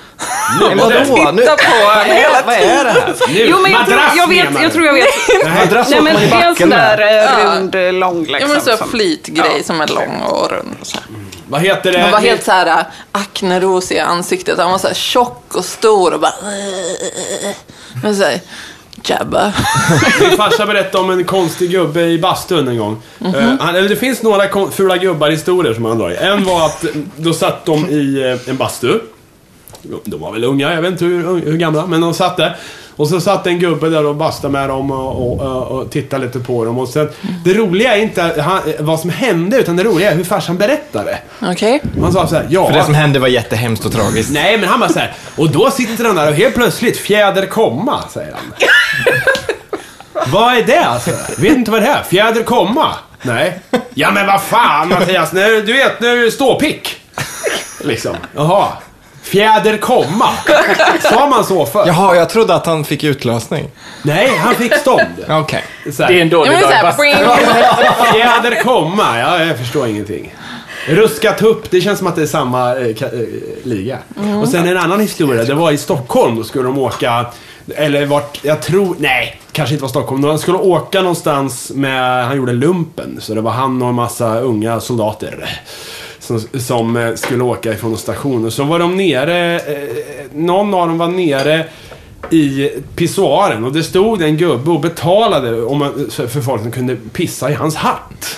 B: Vadå? Nu,
D: Titta på
B: vad, är, vad är det här?
C: Nu,
F: Jo, men jag tror
C: madrass
F: jag,
C: menar
F: vet,
C: du?
F: jag tror jag vet.
B: Madrass
F: Nej,
B: åker
F: men
B: man
F: det
B: i
F: är en
B: backen
F: sån där
B: med.
F: eh,
D: Ja.
F: rund, eh, lång
D: Ja,
F: liksom.
D: men så här
F: som-
D: flytgrej som är lång och rund. Och så här.
C: Vad heter det?
D: Han var helt så här akneros i ansiktet. Han var så här tjock och stor och bara... eh, Men så här, Jabba.
C: Min farsa berättade om en konstig gubbe i bastun en gång.
F: Mhm.
C: Eh, han, eller det finns några kon- fula gubbar-historier som han drar i. En var att eh, då satt de i eh, en bastu. De var väl unga, jag vet inte hur, hur gamla, men de satt där. Och så satt en gubbe där och bastade med dem och, och, och, och tittade lite på dem. Och sen, det roliga är inte han, vad som hände, utan det roliga är hur farsan berättade.
D: Okej.
C: Han sa såhär, ja...
B: För det som hände var jättehemskt och tragiskt.
C: Nej, men han bara såhär, och då sitter han där och helt plötsligt, fjäder komma, säger han. vad är det? Alltså? Vet inte vad det är. Fjäder komma? Nej. Ja, men vad fan Mattias, nu, du vet, nu är det ståpick. Liksom. Jaha. Fjäder komma. Sa man så för?
B: Jaha, jag trodde att han fick utlösning.
C: Nej, han fick stånd.
B: Okej.
C: Så här,
E: Det är en
D: Ja,
E: dålig
D: men så
E: dag.
D: här,
E: Fast
D: bring.
C: Fjäder komma. Ja, jag förstår ingenting. Ruska tupp, det känns som att det är samma eh, ka- eh, liga. Och sen en annan historia, det var i Stockholm, då skulle de åka, eller vart, jag tror, nej, kanske inte var Stockholm, de skulle åka någonstans med, han gjorde lumpen, så det var han och en massa unga soldater. Som, som eh, skulle åka ifrån en station. Och så var de nere, eh, någon av dem var nere i pissoaren och det stod en gubbe och betalade om, man- för för folk som kunde pissa i hans hatt.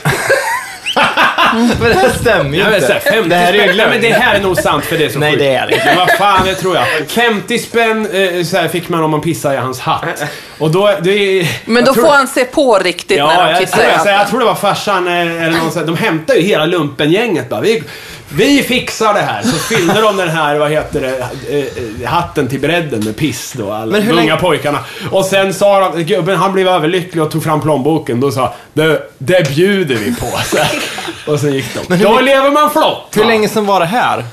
B: Men det stämmer ju
C: Ja, men så här,
B: inte.
C: 50
B: Det här är ju
C: spänn. Nej, men det
B: lögn.
C: här är nog sant för det är så
B: Nej,
C: sjukt.
B: det är det inte.
C: Men vad fan, det tror jag. 50 spänn eh, så här, fick man om man pissade i hans hatt. Och då... Det är,
D: Men
C: jag
D: då
C: tror-
D: får han se på riktigt när
C: Ja,
D: han
C: jag tror,
D: kissar.
C: jag, jag, jag tror det var farsan eh, eller någon så här, De hämtade ju hela lumpengänget bara. Vi, vi fixar det här. Så fyllde de den här, vad heter det, eh, eh, hatten till bredden med piss då. Alla,
B: Men hur
C: de unga
B: länge-
C: pojkarna. Och sen sa de, gubben han blev överlycklig och tog fram plånboken. Då sa det, det bjuder vi på. [LAUGHS] Så här. Och sen gick de.
B: hur
C: Då
B: länge-
C: lever man flott.
B: Hur
C: va?
B: länge sedan var det här?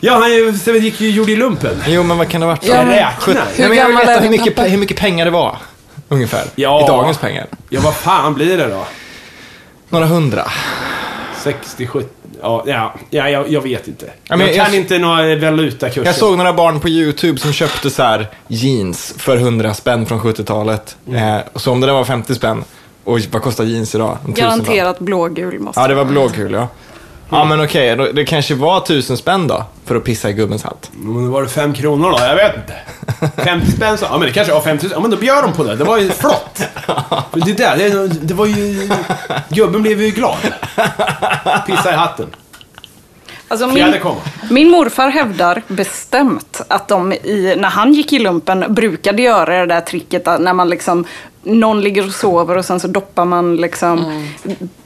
C: Ja, han ju- så gick ju gjorde ju lumpen.
B: Jo, men vad kan det ha varit?
D: Ja,
C: Jag
D: men-
C: räknar.
B: Nej, men jag vill
D: gammal är
B: veta hur
D: din
B: mycket,
D: pappa?
B: hur mycket pengar det var. Ungefär.
C: Ja.
B: I dagens pengar.
C: Ja, vad fan blir det då?
B: Några hundra.
C: 60, 70? Ja, ja, ja jag, jag vet inte.
B: Ja, men
C: jag
B: jag-
C: kan inte några valutakurser.
B: Jag såg några barn på YouTube som köpte så här jeans för 100 spänn från 70-talet.
C: Mm.
B: Eh, så om det där var 50 spänn, oj vad kostar jeans idag? En tusenlapp.
F: Garanterat blågul måste
B: Ja, det var blåkul ja.
C: Mm.
B: Ja, men okej, då- det kanske var 1000 spänn då för att pissa i gubbens hatt.
C: Men var det fem kronor då? Jag vet inte. 50 spänn så. Ja, men det kanske var 50 Ja, men då bjöd de på det. Det var ju flott. Men Det där, det, det var ju... Gubben blev ju glad. Pissa i hatten.
F: Alltså
C: Fjärde kom.
F: min morfar hävdar bestämt att de i, när han gick i lumpen brukade göra det där tricket att när man liksom någon ligger och sover och sen så doppar man liksom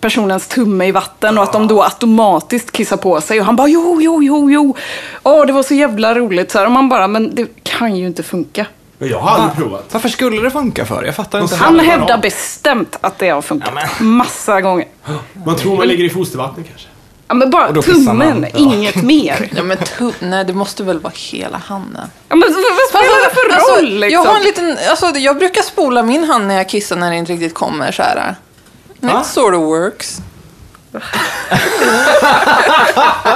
F: personens tumme i vatten och att de då automatiskt kissar på sig. Och han bara jo, jo, jo, jo. Åh, det var så jävla roligt. Så här, och man bara, men det kan ju inte funka.
C: Men jag har aldrig provat.
B: Varför skulle det funka för? Jag fattar inte.
F: Han
C: Jävlar,
F: hävdar
C: ja.
F: bestämt att det har funkat. Massa gånger.
C: Man tror man ligger i fostervattnet kanske.
F: Ja, men
B: Och
F: bara
B: då pissar man.
F: tummen,
B: Ja.
F: inget mer.
D: Ja, men tu- nej, det måste väl vara hela handen.
F: Ja, men vad vad spelar det för
D: Alltså,
F: roll liksom?
D: jag, har en liten, alltså, jag brukar spola min hand när jag kissar när det inte riktigt kommer. Så här. And It sort of works.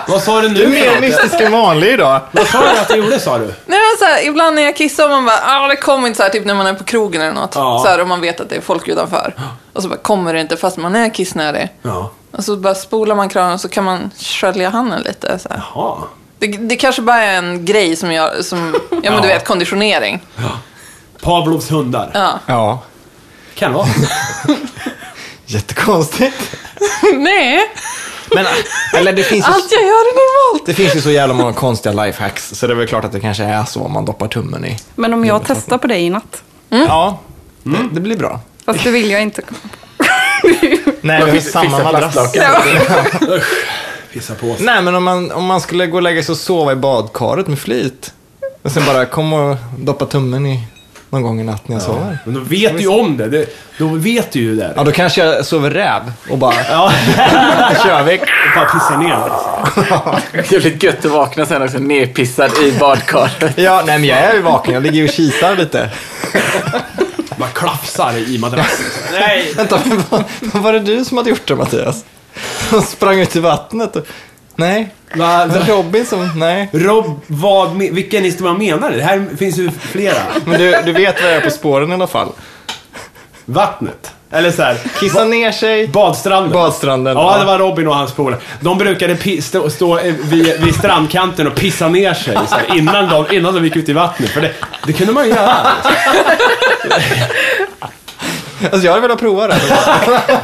C: Vad sa du nu?
B: Du är
C: för
B: mer
C: något?
B: mystisk än vanlig idag.
C: Vad sa du att du gjorde sa du?
D: Nej, men så här, ibland när jag kissar och man bara, ah, det kommer inte så här, typ när man är på krogen eller något.
C: Ja.
D: Så här, och man vet att det är folk utanför. Och så bara, kommer det inte fast man är kissnödig.
C: Ja.
D: Och så bara spolar man kranen och så kan man skölja handen lite. Så här.
C: Ja.
D: Det, det kanske bara är en grej som jag, som, ja men du
C: Ja.
D: vet, konditionering.
C: Pavlovs hundar.
B: Ja.
C: Kan vara.
B: Jättekonstigt.
D: [LAUGHS] Nej,
B: Men, eller det finns, ju,
D: allt jag gör är normalt.
B: det finns ju så jävla många konstiga lifehacks. Så det är väl klart att det kanske är så om man doppar tummen i.
F: Men om jag testar på dig i natt?
D: Mm.
B: Ja, Mm. det, det blir bra.
F: Fast det vill jag inte.
B: Nej, vi har
E: Fixa
B: samma madrass.
E: plastlakan.
C: Pissa på sig.
B: Nej, men om man, om man skulle gå och lägga sig och sova i badkaret med flit. Och sen bara kom och doppa tummen i någon gång i natt när jag sover.
C: Men då vet du ju om det. det. Då vet du ju det.
B: Ja, då kanske jag sover räv och bara... Ja. [LAUGHS] kör vi.
C: Bara pissa ner.
E: Det är lite gött att vakna sen också, nerpissad i badkaret.
B: Ja, nej men jag är ju vaken. Jag ligger ju och kisar lite.
C: Man klafsar i madrassen. Nej!
B: Vänta, men vad, vad var det du som hade gjort det Mattias? Som sprang ut i vattnet och... Nej.
C: Va,
B: Det var Robin som... Nej.
C: Rob, vad, me- vilken historia menar du? Det här finns ju flera.
B: Men du, du vet vad jag är på spåren i alla fall.
C: Vattnet. Eller så här.
B: Kissa ner sig.
C: Badstranden.
B: Badstranden,
C: Ja,
B: ja.
C: det var Robin och hans polare. De brukade pi- stå, stå eh, vid, vid strandkanten och pissa ner sig så här, innan, de, innan de gick ut i vattnet. För det, det kunde man ju göra.
B: Alltså jag hade velat prova det.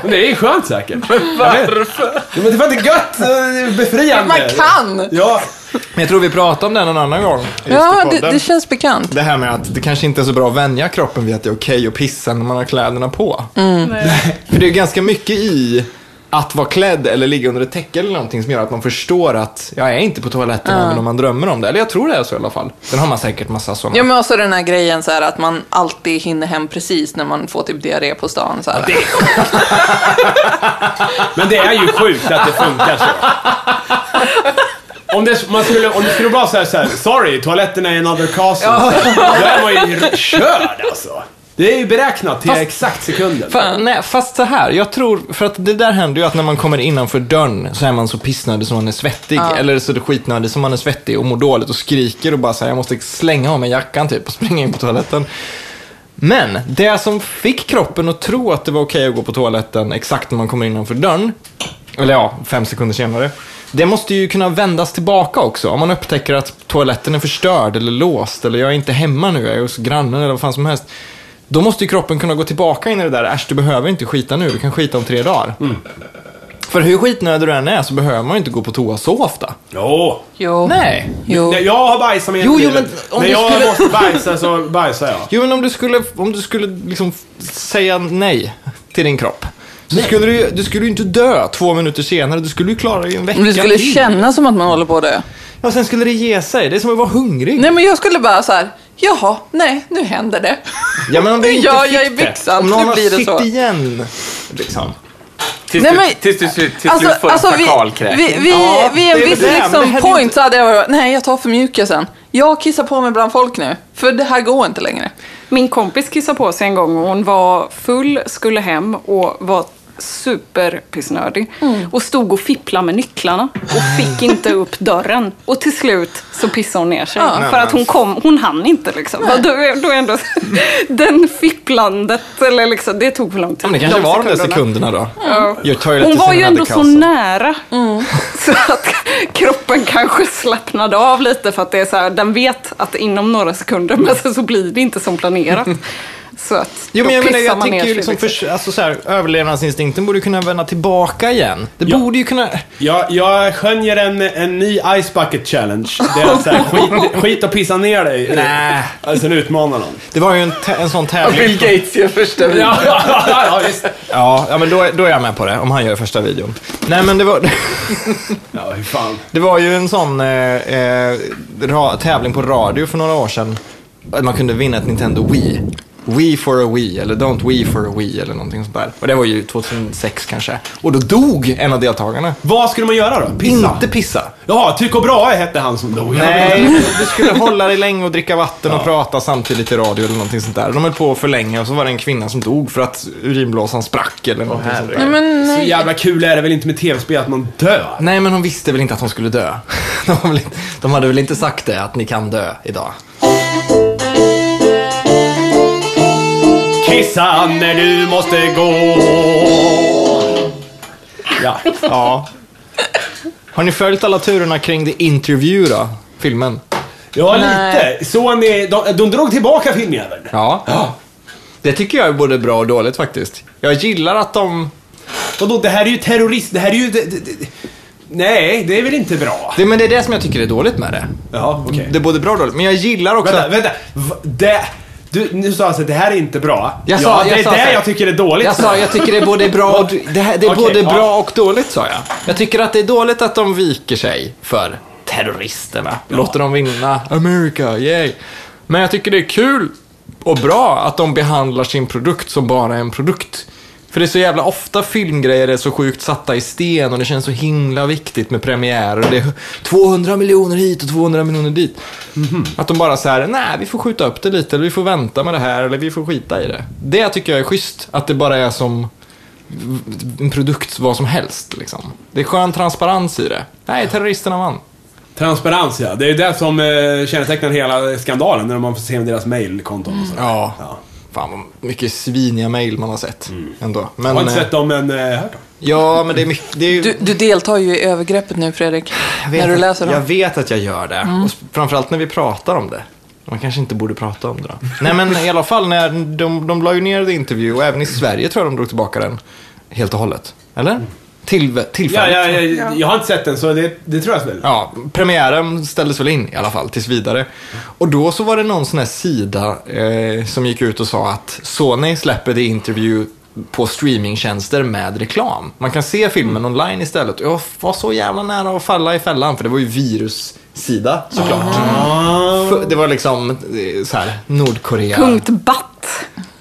C: Men det är ju skönt
D: [LAUGHS]
C: säkert. Varför? Ja, men det var inte gött. eh, det är Befriande.
D: Man kan!
C: Ja,
B: Men jag tror vi pratade om det någon annan gång. just i
D: Ja, det,
B: podden.
D: det känns bekant.
B: Det här med att det kanske inte är så bra att vänja kroppen vid att det är okej att pissa när man har kläderna på.
D: Mm.
B: [LAUGHS] För det är ganska mycket i att vara klädd eller ligga under ett täcke eller någonting som gör att man förstår att jag är inte på toaletten även om man drömmer om det. Eller jag tror det är så i alla fall. Sen har man säkert massa sådana.
D: Ja, men också den här grejen så här att man alltid hinner hem precis när man får typ diarré på stan. Så här.
C: Men det är ju sjukt att det funkar så. Om det, man skulle, om det skulle vara så här, så här sorry, toaletterna är another castle. Då är man ju körd alltså. Det är ju beräknat till
B: Fast-
C: exakt sekunden.
B: Fa- Äh, Nej, fast så här. Jag tror, för att det där händer ju att när man kommer innanför dörren så är man så pissnödig som man är svettig. Eller så är det skitnödig som man är svettig och mår dåligt och skriker och bara säger jag måste slänga av mig jackan typ och springa in på toaletten. Men det som fick kroppen att tro att det var okej att gå på toaletten exakt när man kommer innanför dörren, eller ja, fem sekunder senare, det måste ju kunna vändas tillbaka också. Om man upptäcker att toaletten är förstörd eller låst eller jag är inte hemma nu, jag är hos grannen eller vad fan som helst. Då måste ju kroppen kunna gå tillbaka in i det där, äsch du behöver inte skita nu, du kan skita om tre dagar. För hur skitnödig du än är så behöver man ju inte gå på toa så ofta.
C: Jo.
D: Jo.
B: Nej.
D: Jo.
C: Nej, Jag har bajsat med
B: Jo, jo,
C: bilen.
B: men om
C: När
B: du
C: jag
B: skulle-
C: måste bajsa så bajsar jag.
B: Jo, men om du skulle, om du skulle liksom säga nej till din kropp. Så skulle du, ju- du skulle ju inte dö två minuter senare, du skulle ju klara dig en vecka
D: Det skulle
B: till.
D: kännas som att man håller på att dö.
B: Ja, sen skulle det ge sig. Det är som att vara hungrig.
D: Nej, men jag skulle bara så här, jaha, nej, nu händer det.
B: Ja, men om
D: [LAUGHS]
B: du
D: Nu
B: inte
D: gör
B: fick
D: jag i
B: det.
D: byxan,
B: Om
D: nu
B: någon har
D: blir det
B: sitt
D: så.
B: igen. Liksom.
E: Tills,
D: Nej,
E: du-
D: men-
E: tills du slut- tills du får en
D: Alltså, vi,
E: fakalkräk.
D: vi, vi,
B: Ja,
D: vid en
B: det är
D: viss
B: det, men det
D: liksom
B: hade
D: point
B: inte-
D: så hade jag varit, nej, jag tar för mjukisen. Jag kissar på mig bland folk nu, för det här går inte längre.
F: Min kompis kissade på sig en gång och hon var full, skulle hem och var superpissnödig. Och stod och fipplade med nycklarna och fick inte upp dörren. Och till slut så pissade hon ner sig.
D: Ja.
F: för att hon kom, hon hann inte liksom. Då, är- då är ändå, [LAUGHS] den fipplandet, eller liksom, det tog för lång tid.
B: Men det kanske
F: de
B: var de där sekunderna då.
F: Ja.
B: Your toilet
F: Hon
B: is
F: var ju
B: another
F: ändå så
B: castle.
F: nära.
D: Mm.
F: [LAUGHS] Så att kroppen kanske slappnade av lite för att det är så här, den vet att inom några sekunder, men sen så blir det inte som planerat. Så att
B: Jo,
F: då
B: men jag, menar,
F: pissar
B: jag
F: man ner
B: tänker ju
F: sig.
B: liksom,
F: liksom.
B: för, alltså så här, överlevnadsinstinkten borde kunna vända tillbaka igen. Det
C: Ja.
B: borde ju kunna...
C: Jag, jag skönjer en, en ny Ice Bucket Challenge. Det är så här, skit, skit och pissa ner dig.
B: Nej.
C: Alltså en utmanar någon.
B: Det var ju en, tä- en sån tävling.
E: Bill Gates gör första videon.
C: Ja, ja, [LAUGHS] ja, visst.
B: Ja, ja men då, är- då är jag med på det, om han gör första videon. Nej, men det var... [LAUGHS]
C: Ja, hur fan.
B: Det var ju en sån eh, eh, ra- tävling på radio för några år sedan. Att Man kunde vinna ett Nintendo Wii. Wii for a Wii eller Don't Wii for a Wii eller någonting sånt där. Och det var ju 2006 kanske. Och då dog en av deltagarna.
C: Vad skulle man göra då? Pissa?
B: Inte pissa.
C: Jaha, Tycho Brahe hette han som dog.
B: Nej, du skulle hålla dig länge och dricka vatten och prata samtidigt i radio eller någonting sånt där. De höll på för länge och så var det en kvinna som dog för att urinblåsan sprack eller någonting sånt där.
D: Men
C: Så
D: [LAUGHS] nej.
C: jävla kul är det väl inte med tv-spel att man dör?
B: Nej, men hon visste väl inte att hon skulle dö. [LAUGHS] De, har väl inte, de hade väl inte sagt det, att ni kan dö idag.
C: Kissa när du måste gå. Ja.
B: Ja. Har ni följt alla turerna kring The Interview då? Filmen?
C: Ja,
D: Nej.
C: lite. Så ni, de, de drog tillbaka filmjäveln.
B: Ja. Det tycker jag är både bra och dåligt faktiskt. Jag gillar att de...
C: Vadå, det här är ju terrorist... Det här är ju... Det, det, det, nej, det är väl inte bra?
B: Det, men det är det som jag tycker är dåligt med det.
C: Ja, okej.
B: Mm, Det är både bra och dåligt. Men jag gillar också...
C: Vänta, vänta. Va- Det, du, nu sa alltså det här är inte bra.
B: Jag sa-
C: ja, det
B: jag
C: är
B: sa
C: det
B: så här.
C: jag tycker är dåligt.
B: Jag sa, jag tycker det är både bra och, det här, det är
C: Okej,
B: både
C: ja.
B: bra och dåligt sa jag. Jag tycker att det är dåligt att de viker sig för terroristerna. Låter dem vinna. America, yay. Men jag tycker det är kul och bra att de behandlar sin produkt som bara en produkt. För det är så jävla ofta filmgrejer är så sjukt satta i sten och det känns så himla viktigt med premiärer. och Det är 200 miljoner hit och 200 miljoner dit. Att de bara så här, nej vi får skjuta upp det lite eller vi får vänta med det här eller vi får skita i det. Det tycker jag är schysst, att det bara är som en produkt vad som helst. Liksom. Det är skön transparens i det. Nej, terroristerna vann.
C: Transparens, ja. Det är det som eh, kännetecknar hela skandalen, när man får se deras mailkonton och sådär.
B: Mm. Ja.
C: Ja.
B: Fan vad mycket sviniga mail man har sett ändå. Men,
C: Jag har inte
B: eh,
C: sett dem, men eh, hört dem.
B: Ja, men det är mycket. Det är ju,
D: Du, du deltar ju i övergreppet nu Fredrik.
B: jag vet
D: När du
B: att-
D: läser
B: Jag
D: dem. Mm.
B: vet att jag gör det. Och s- framförallt när vi pratar om det. Man kanske inte borde prata om det då. Nej, men i alla fall när de, de la ju ner det intervju och även i Sverige tror jag de drog tillbaka den helt och hållet. Eller? Till,
C: Mm. Ja,
B: tillfälligt.
C: ja, ja, jag har inte sett den, så det, det tror jag väl.
B: Ja, premiären ställdes väl in i alla fall tills vidare. Och då så var det någon sån här sida eh, som gick ut och sa att Sony släpper det intervju på streamingtjänster med reklam. Man kan se filmen online istället. Jag var så jävla nära att falla i fällan för det var ju virussida såklart. För- Det var liksom eh, så här Nordkorea.
F: Punkt batt.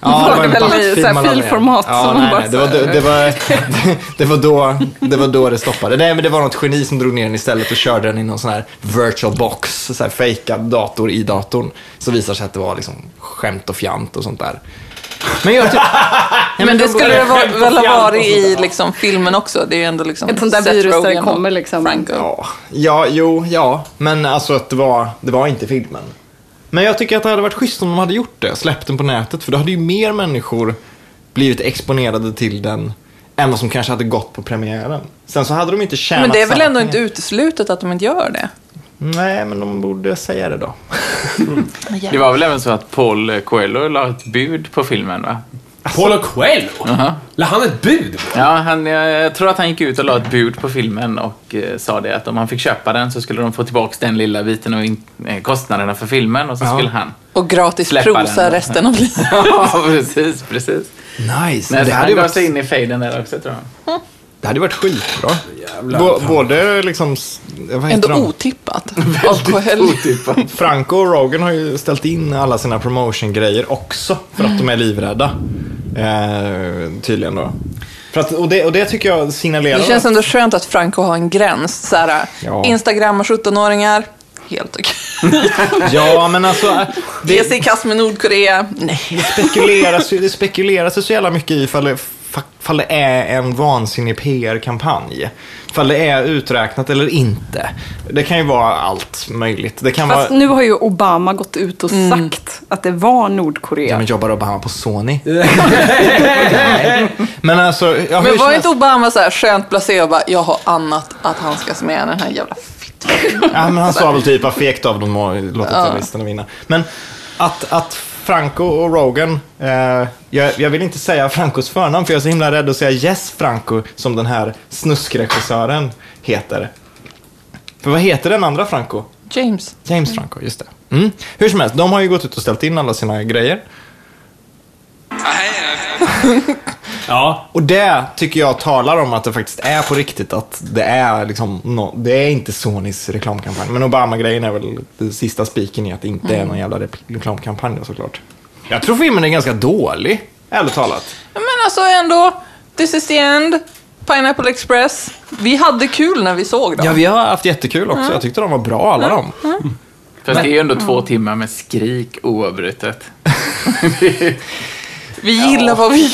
B: Ja,
F: var det väl i
B: backfilm
F: så här
B: man la ner.
F: filformat
B: Ja,
F: som man
B: nej,
F: bara
B: nej, det, var,
F: så här-
B: det, det, var,
F: [LAUGHS]
B: det, var då, det var då det stoppade. Nej, men det var något geni som drog ner den istället och körde den i någon sån här virtual box, så här fejkad dator i datorn. Så visar sig att det var liksom skämt och fjant och sånt där. Men jag
F: [LAUGHS]
B: tycker...
D: Men det skulle det vara, väl ha
C: fjant och
D: varit
C: sånt
D: i
C: där.
D: liksom, filmen också. Det är ju ändå liksom
F: Ett sånt där
D: Seth
F: virus där
D: Rogen
F: det kommer
D: och
F: liksom.
D: Franco.
B: Ja, ja, jo, ja. Men alltså att det var, det var inte filmen. Men jag tycker att det hade varit schysst om de hade gjort det, släppt den på nätet. För då hade ju mer människor blivit exponerade till den än vad som kanske hade gått på premiären. Sen så hade de inte tjänat
D: Men det är väl
B: samma
D: ändå
B: pengar.
D: inte uteslutet att de inte gör det?
B: Nej, men de borde säga det då.
E: Det var väl även så att Paul Coelho la ett bud på filmen va?
C: Paolo Coelho?
B: Uh-huh.
C: La han ett bud på?
E: Ja, han, jag, jag tror att han gick ut och la ett bud på filmen och eh, sa det att om han fick köpa den så skulle de få tillbaka den lilla biten av in, eh, kostnaderna för filmen och så
B: [LAUGHS]
E: skulle han.
D: Och gratis
E: Släppa
D: prosa
E: den.
D: resten av livet.
E: ja, precis, precis.
B: Nice.
E: Nej,
B: det,
E: han
B: hade ju
E: gav
B: varit,
E: sig in i fejden där också tror jag.
B: det hade ju varit skitbra.
C: Jävlar,
B: Bå- både liksom... s- Vad heter
D: Ändå
B: de?
D: otippat. Av Coelho.
B: Typ.
E: Otippat.
B: Franco och Rogan har ju ställt in alla sina promotion-grejer också för att de är livrädda. Eh, tydligen då. För att, och, det, och det tycker jag signalerar...
D: Det känns ändå skönt att Franco har en gräns. Så här,
B: Ja.
D: Instagram och 17-åringar, helt okej.
B: Ja, men alltså...
D: Ge
B: Det
D: sig i kast med Nordkorea, nej.
B: spekuleras, ju- det spekuleras ju så jävla mycket i ifall det, fa- ifall det är en vansinnig PR-kampanj. Ifall det är uträknat eller inte. Det kan ju vara allt möjligt. Det kan
F: Fast
B: vara...
F: nu har ju Obama gått ut och
D: Mm.
F: sagt att det var Nordkorea.
B: Ja, men jobbar Obama på
D: [LAUGHS]
B: Sony? men alltså... Ja, hur
D: [LAUGHS] Men var
B: känns-
D: inte Obama så här skönt blasé och bara, jag har annat att handskas med än den här jävla fitt.
B: Ja, men han sa väl typ vad fegt av dem att låta terroristerna vinna. Men att, att Franco och Rogan. Eh, jag, jag vill inte säga Francos förnamn för jag är så himla rädd att säga Yes Franco som den här snuskregissören heter. För vad heter den andra Franco?
D: James.
B: James Franco, just det. Mm. Hur som helst, de har ju gått ut och ställt in alla sina grejer.
C: Ja,
B: Och det tycker jag talar om att det faktiskt är på riktigt. Att det är liksom, nå- det är inte Sonys reklamkampanj. Men Obama-grejen är väl den sista spiken i att det inte
F: Mm.
B: är någon jävla re- reklamkampanj då, såklart. Jag tror filmen är ganska dålig, ärligt talat.
D: Men alltså ändå, this is the end. Pineapple Express. Vi hade kul när vi såg dem.
B: Ja, vi har haft jättekul också. Jag tyckte de var bra, alla de.
E: Fast det är ju ändå två timmar med skrik
B: [LAUGHS]
E: oavbrutet.
D: Vi gillar vad vi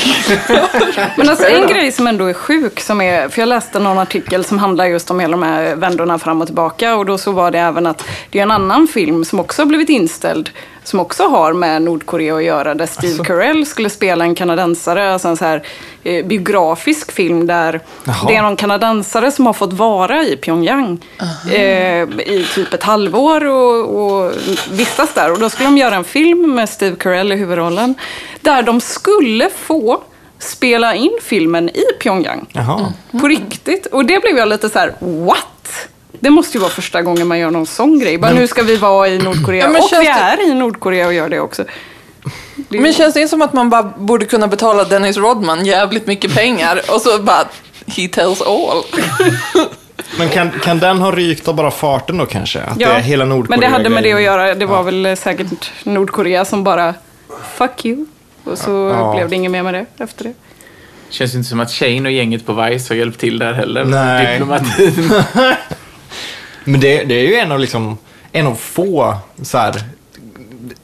F: Men alltså en grej som ändå är sjuk, som är, för jag läste någon artikel som handlar just om hela de här vändorna fram och tillbaka och då så var det även att det är en annan film som också har blivit inställd som också har med Nordkorea att göra där Steve Carell skulle spela en kanadensare, alltså en så här eh, biografisk film där
B: Jaha.
F: det är någon kanadensare som har fått vara i Pyongyang eh, i typ ett halvår och, och vistas där och då skulle de göra en film med Steve Carell i huvudrollen där de skulle få spela in filmen i Pyongyang.
B: Jaha.
F: På riktigt. Och det blev jag lite så här: what? Det måste ju vara första gången man gör någon sån grej. Bara nu ska vi vara i Nordkorea.
D: Ja, men
F: och vi
D: känns det-
F: är i Nordkorea och gör det också. Det-
D: Men känns det inte som att man bara borde kunna betala Dennis Rodman jävligt mycket pengar och så bara He tells all.
B: Men kan, kan den ha rykt av bara farten då kanske? Att
F: Ja,
B: det är hela Nordkorea
F: Men det hade med det att göra. Det var väl säkert Nordkorea som bara fuck you. Och så
B: Ja.
F: blev det inget mer med det efter det.
E: Känns ju inte som att Shane och gänget på Vice har hjälpt till där heller.
B: Nej. [LAUGHS]
E: Diplomatin.
B: Men det, det är ju en av, liksom, en av få så här,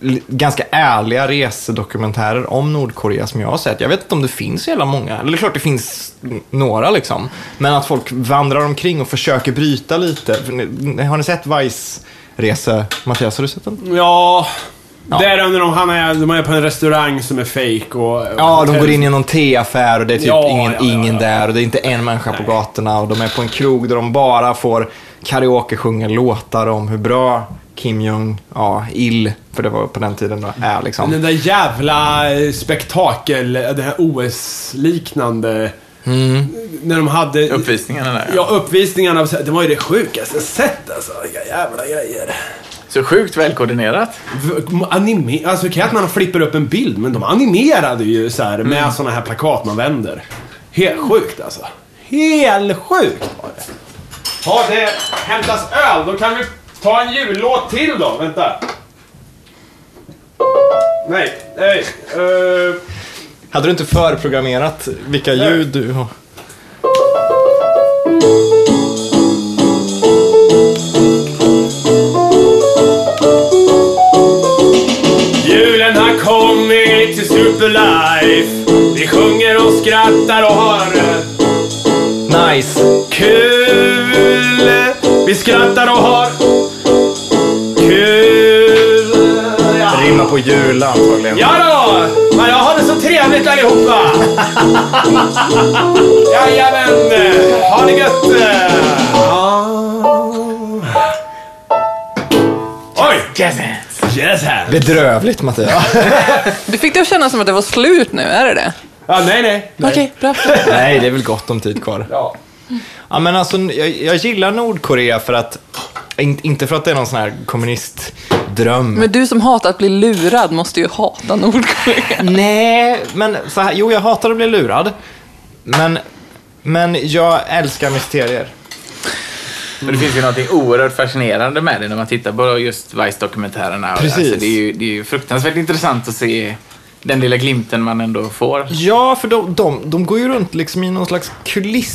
B: l- ganska ärliga resedokumentärer om Nordkorea som jag har sett. Jag vet inte om det finns så jävla många. Eller det är klart det finns n- några liksom. Men att folk vandrar omkring och försöker bryta lite. För ni- Har ni sett Vice? Rese, Mattias har du sett den?
C: ja. Där under de, han är, de är på en restaurang som är fake och...
B: Ja, de går in i någon teaffär och det är typ
C: Ja,
B: ingen,
C: ja, ja,
B: ingen
C: ja.
B: där och det är inte en människa på gatorna och de är på en krog där de bara får karaoke sjunga låtar om hur bra Kim Jong, ja, ill, för det var på den tiden då, är liksom.
C: Den där jävla eh, spektakel, eh, det här OS-liknande.
B: Mm.
C: När de hade...
E: Uppvisningarna där.
C: Ja, uppvisningarna. Det var ju det sjukaste jag sett alltså. Vilka jävla grejer.
E: Så sjukt välkoordinerat.
C: V- Anime, alltså okej att man flipper upp en bild, men de animerade ju så här med såna här plakat man vänder. Helt sjukt alltså. Helt sjukt var det. Ja, det hämtas öl. Då kan vi ta en jullåt till då. Vänta. Nej, nej. eh,
B: Hade du inte förprogrammerat vilka ljud du har?
C: Julen har kommit till Superlife. Vi sjunger och skrattar och har eh,
B: Nice!
C: kul. Vi skrattar och har kul. Ja.
B: Rimmar på jul antagligen.
C: Ja då! Men jag har det så trevligt allihopa!
B: [LAUGHS]
C: Jajamän! Ha det gött! Oj! Yes hands!
B: Bedrövligt Mattias.
D: Du fick det att kännas som att det var slut nu, är det det?
C: Ja, nej, nej.
D: Okej, bra.
B: [LAUGHS] Nej, det är väl gott om tid kvar.
C: Ja.
B: Ja, men alltså, jag, jag gillar Nordkorea för att, in, inte för att det är någon sån här kommunistdröm.
D: Men du som hatar att bli lurad måste ju hata Nordkorea.
B: Nej, men så här, jo jag hatar att bli lurad. Men, men jag älskar mysterier.
E: Men det finns ju något oerhört fascinerande med det när man tittar på just Vice-dokumentärerna.
B: Precis.
E: Alltså, det, är ju, det är ju fruktansvärt intressant att se den lilla glimten man ändå får.
B: Ja, för de, de, de går ju runt liksom i någon slags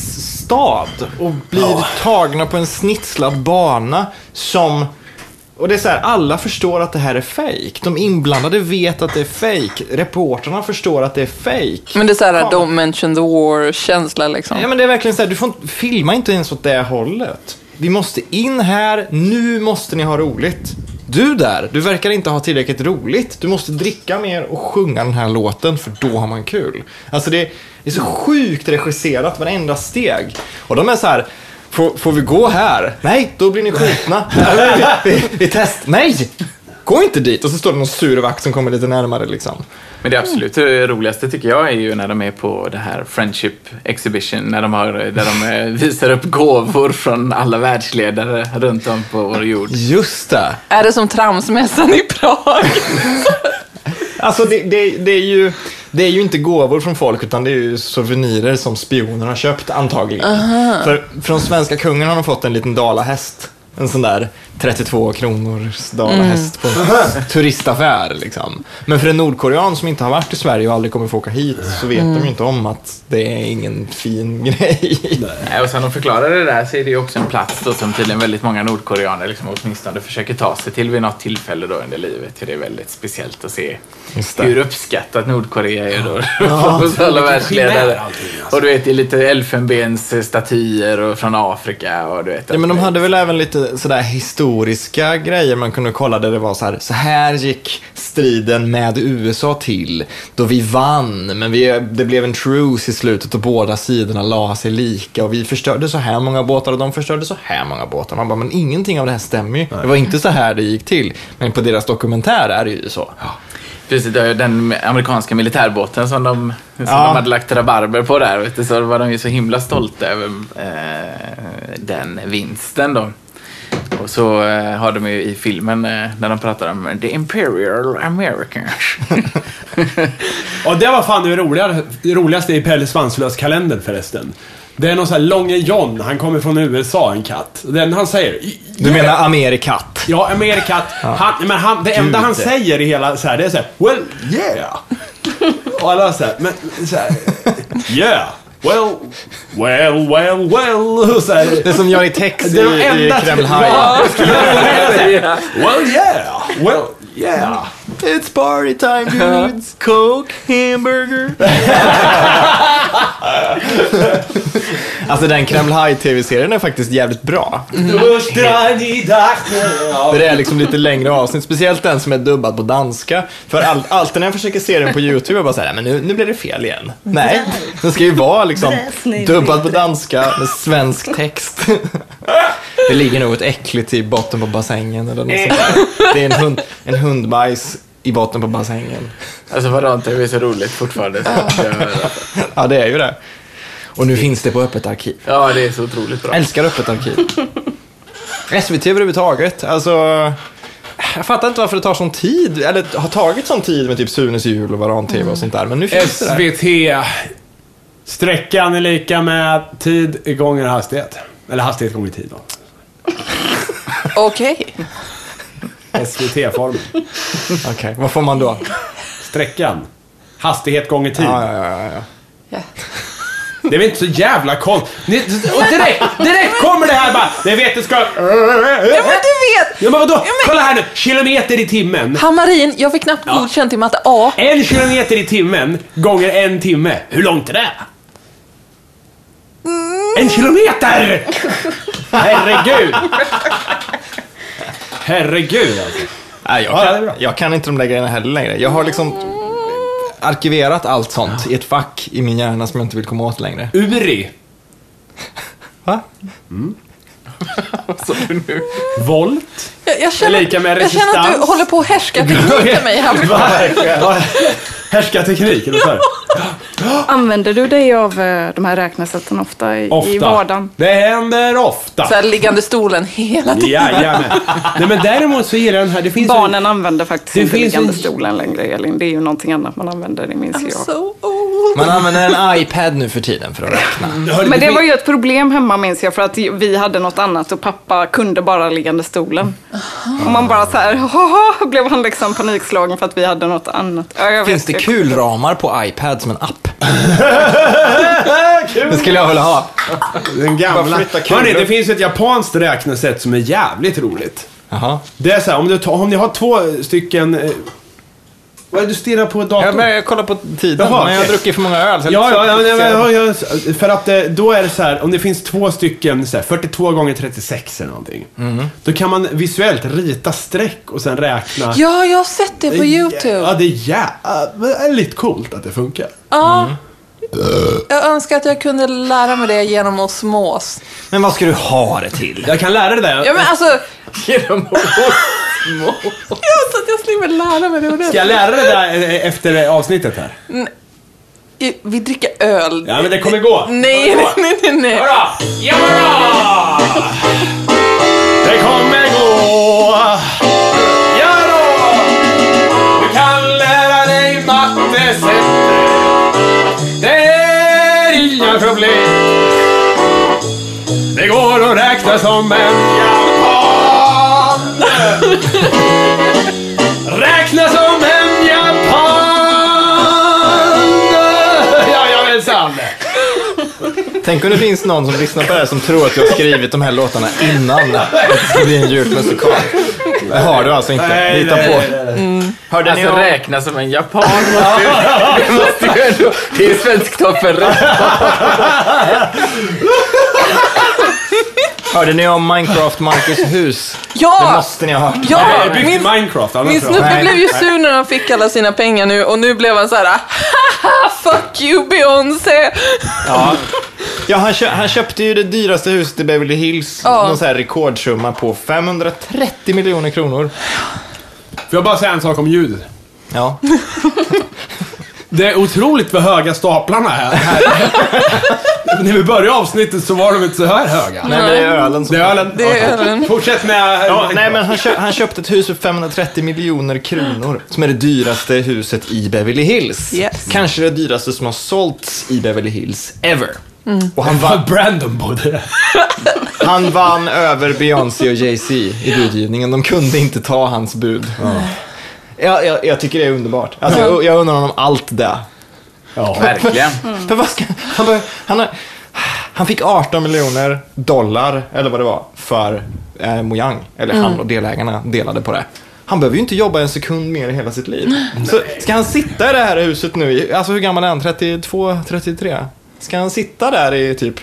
B: kulissstad och blir tagna på en snitslad bana som... Och det är så här, alla förstår att det här är fejk. De inblandade vet att det är fejk. Reporterna förstår att det är fejk.
D: Men det är såhär
B: Fan.
D: don't mention the war-känsla liksom.
B: Ja, men det är verkligen så här, du får inte, filma inte ens åt det hållet. Vi måste in här, nu måste ni ha roligt. Du där, du verkar inte ha tillräckligt roligt. Du måste dricka mer och sjunga den här låten, för då har man kul. Alltså det är så sjukt regisserat, varenda steg. Och de är så här, [LAUGHS] får, får vi gå här? Nej, då blir ni skjutna. Vi, vi, vi test, nej! gå inte dit. Och så står det någon sur vakt som kommer lite närmare liksom.
E: Men det absolut roligaste tycker jag är ju när de är på det här Friendship Exhibition, när de har, där de eh, visar upp gåvor från alla världsledare runt om på vår jord.
B: Just det.
D: Är det som tramsmässan i [LAUGHS] Prag?
B: Alltså det, det, det, är ju, det är ju inte gåvor från folk utan det är ju souvenirer som spionerna har köpt antagligen. För från svenska kungen har de fått en liten dalahäst. En sån där 32 kronors dalahäst på en turistaffär. Liksom. Men för en nordkorean som inte har varit i Sverige och aldrig kommer få åka hit så vet de ju inte om att det är ingen fin [LAUGHS] grej.
E: Nej, Och sen de förklarar det där så är det ju också en plats då som tydligen väldigt många nordkoreaner liksom åtminstone försöker ta sig till vid något tillfälle då under livet. För det är väldigt speciellt att se
B: Just det.
E: hur uppskattat Nordkorea är då [LAUGHS] hos alla världsledare.
B: alltså.
E: Och du vet, det är lite elfenbensstatyer och från Afrika och du vet.
B: Ja,
E: att
B: men de
E: det-
B: hade väl även lite sådär historiska grejer man kunde kolla där det var så här, så här gick striden med USA till då vi vann, men vi, det blev en truce i slutet och båda sidorna la sig lika och vi förstörde så här många båtar och de förstörde så här många båtar. Man bara, men ingenting av det här stämmer ju. Det var inte så här det gick till. Men på deras dokumentär är det ju så.
E: Precis, det var ju den amerikanska militärbåten som de, som
B: Ja.
E: de hade lagt rabarber på där. Vet du, så var de ju så himla stolta över eh, den vinsten då. Och så eh, har de ju i filmen eh, när de pratar om The Imperial Americans.
C: Ja, det var fan det roligare, det roligaste i Pelle Svanslös kalender förresten. Det är någon sån här Långe John, han kommer från USA, en katt. Den han säger...
B: Du menar Amerikat?
C: Ja, Amerikat. Han, men han, det enda han säger i hela så här, det är så här, Well, yeah. Och alla så här, men så här, Yeah. Well, well, well, well. Och
B: [LAUGHS]
C: Så här,
B: Det är som Johnny Tex i,
C: det är de
B: i
C: enda...
B: Kreml
C: Ja, jag skulle säga. Well, yeah. Well, yeah.
B: It's party time dudes, coke, [LAUGHS] hamburger. alltså den Kreml High TV-serien är faktiskt jävligt bra. För det är liksom lite längre avsnitt, speciellt den som är dubbad på danska. För all, alltid när jag försöker se den på YouTube, jag bara såhär, men nu, nu blir det fel igen. Nej, den ska ju vara liksom dubbad på danska med svensk text. [LAUGHS] Det ligger något äckligt i botten på bassängen eller något sånt där. Det är en, hund, en hundbajs i botten på bassängen.
E: Alltså vadå, inte det är så roligt fortfarande. Så, eh,
B: Ja, det är ju det. Och nu finns det på Öppet arkiv.
E: ja, det är så otroligt bra.
B: Jag älskar Öppet arkiv. [LAUGHS] SVT överhuvudtaget. Alltså, jag fattar inte varför det tar sån tid. Eller har tagit sån tid med typ Sunes jul och Varan-TV och sånt där. Men nu finns det där.
C: SVT. Sträckan är lika med tid gånger hastighet. Eller hastighet gånger tid då.
D: Okej.
C: SVT-formen.
B: Okej, vad får man [LAUGHS] då?
C: Sträckan. Hastighet gånger tid.
B: Ja, ja, ja, ja, ja.
D: Ja.
C: Det är väl inte så jävla konstigt. Och direkt, direkt kommer det här bara. Det vet du ska...
D: Ja, men du vet!
C: Ja men vadå?
D: men-
C: Kolla här nu. Kilometer i timmen.
D: Hammarin, jag fick knappt godkänt i matte A.
C: En kilometer i timmen gånger en timme. Hur långt är det? En kilometer! Herregud! Herregud alltså.
B: Nej, jag,
C: Ja, det är bra.
B: kan, jag kan inte de där grejerna heller längre. Jag har liksom arkiverat allt sånt i ett fack i min hjärna som jag inte vill komma åt längre.
C: Uri. Mm.
B: Va?
E: Så nu-
F: [LAUGHS]
C: Volt.
D: Jag, jag, känner,
C: Lika med
D: jag känner att du
C: resistans.
D: håller på att härska
C: [LAUGHS]
D: tekniken mig här.
C: Härska teknik, eller vad
F: Använder du dig av eh, de här räknesätten ofta i, i vardagen?
C: Det händer ofta.
D: Så här liggande stolen hela tiden.
C: Jajamän. Nej men däremot så gillar jag den här. Det finns en-
F: Barnen använder faktiskt
C: Det
F: inte
C: finns
F: liggande
C: en-
F: stolen längre, Elin. Det är ju någonting annat man använder, det minns jag.
D: So old.
B: Man använder [LAUGHS] en iPad nu för tiden för att räkna.
C: Hörde,
F: Men det
C: fin-
F: var ju ett problem hemma minns jag för att vi hade något annat och pappa kunde bara liggande stolen. Och man bara så här, haha, blev han liksom panikslagen för att vi hade något annat. Ja, jag
B: Finns
F: vet
B: det
F: ju.
B: kulramar på iPad som en app?
C: Äh,
B: Det skulle jag vilja ha.
C: Den gamla.
B: Bara flytta kulor.
C: Hörni, det finns ett japanskt räknesätt som är jävligt roligt.
B: Jaha.
C: Det är så här, om, du tar, om ni har två stycken... Eh, vad är det du stirrar på datorn?
B: Jag börjar kolla på tiden,
C: Jaha,
B: men jag har
C: okej.
B: druckit för många öl. så jag
C: Ja,
B: är
C: ja,
B: lite
C: ja,
B: så
C: ja,
B: fokuserad.
C: ja, ja, för att eh, då är det så här, om det finns två stycken, så här, 42 gånger 36 eller någonting. Då kan man visuellt rita streck och sen räkna.
D: Ja, jag har sett det på YouTube.
C: Ja, det är jävligt coolt att det funkar.
D: Ja. Jag önskar att jag kunde lära mig det genom osmos.
B: Men vad ska du ha det till?
C: [LAUGHS] Jag kan lära dig det.
D: Ja, men alltså,
E: Genom att- små.
D: Jag sa att jag slipper lära mig det och
C: Ska
D: det.
C: jag lära dig det där eh, efter avsnittet här?
D: I- Vi dricker öl.
C: Ja, men det kommer gå.
D: Nej, nej, nej, nej, nej.
C: Hurra! Ja, hurra! Det kommer gå. Ja då! Du kan lära dig mattesättet. Det är inga problem. Det går att räkna som en japan. Räkna som en japan. Ja, jag vet sant.
B: Tänk om det finns någon som lyssnar på det här som tror att jag har skrivit de här låtarna innan att det ska bli en julmusikal. Det har du alltså inte.
C: Nej,
B: Hitta
C: nej,
B: på.
C: nej,
B: Hörde ni
E: Alltså
B: om-
E: räkna som en japan måste ju, det måste ju ändå, det är Svensktoppen rätt.
B: Hörde ni om Minecraft Monkeys hus? Det
D: Ja!
B: måste ni ha hört.
D: Ja!
C: Jag har byggt
D: Min,
C: Minecraft, annars
D: min
C: tror jag.
D: snubbe
B: Nej.
D: blev ju sur när han fick alla sina pengar nu och nu blev han så här Haha, fuck you Beyoncé!
B: Ja, han, kö- han köpte ju det dyraste huset i Beverly Hills.
D: Ja.
B: Någon så här rekordsumma på 530 miljoner kronor.
C: Får jag bara säga en sak om ljudet?
D: [LAUGHS]
B: Ja.
C: Det är otroligt vad höga staplarna är
D: [LAUGHS]
C: här. När vi började avsnittet så var de inte så här höga.
B: Nej, men det är ölen som...
C: Det är ölen.
D: Det är
C: Okej.
D: ölen.
C: Fortsätt med...
B: Ja, nej, men han, kö- han köpte ett hus för 530 miljoner kronor. Som är det dyraste huset i Beverly Hills.
D: Yes.
B: Kanske det dyraste som har sålts i Beverly Hills ever. Och han
C: [LAUGHS]
B: vann,
C: Vad Brandon bodde där.
B: han vann över Beyoncé och Jay-Z i budgivningen. De kunde inte ta hans bud. Ja, jag, jag tycker det är underbart. Alltså, jag, jag undrar honom allt det.
E: Verkligen.
B: För vad ska, han, bara, han, har, han fick 18 miljoner dollar, eller vad det var, för eh, Mojang. Eller han och delägarna delade på det. Han behöver ju inte jobba en sekund mer i hela sitt liv. Så ska han sitta i det här huset nu, i- alltså hur gammal är han? 32, 33? Ska han sitta där i typ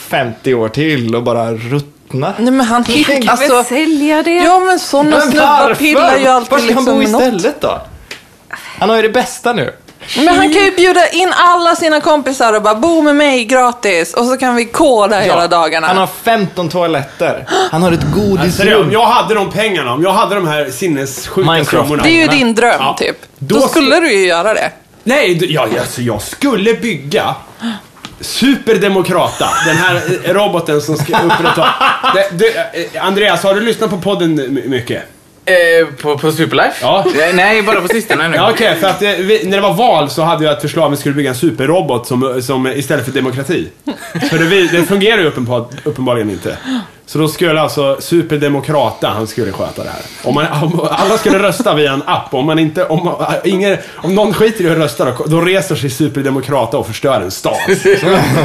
B: 50 år till och bara ruttna?
D: Nej men han hittar... Alltså,
F: sälja det?
D: ja men sådana snubbar pillar ju
B: Var
D: alltid
B: ska han bo
D: liksom med något.
B: istället då? Han har ju det bästa nu.
D: Men han kan ju bjuda in alla sina kompisar och bara bo med mig gratis och så kan vi koda hela dagarna.
B: Han har 15 toaletter. Han har ett
C: Alltså, det-
B: godisrum.
C: Om jag hade de pengarna, om jag hade de här sinnessjuka
B: Minecraft.
C: summorna.
D: Det är ju din dröm
C: Ja.
D: typ.
C: Då
D: Då
C: ska-
D: skulle du ju göra det.
C: Nej, du- ja, alltså, jag skulle bygga Superdemokrata, den här eh, roboten som ska
B: [LAUGHS]
C: upprätthålla... Det- det- eh, Andreas, har du lyssnat på podden m- mycket?
E: Eh, på, på Superlife?
C: Ja.
E: Eh, Nej, bara på sistone nu.
C: Ja, okej, för att eh, vi, när det var val så hade jag ett förslag om att vi skulle bygga en superrobot som, som istället för demokrati. För det, vi- det fungerar ju uppenbar, uppenbarligen inte. Så då skulle alltså superdemokrata, han skulle sköta det här. Om, man, om alla skulle rösta via en app, om man inte, om, äh, ingen, om någon skiter i att rösta då, då reser sig superdemokrata och förstör en stad.
E: [LAUGHS]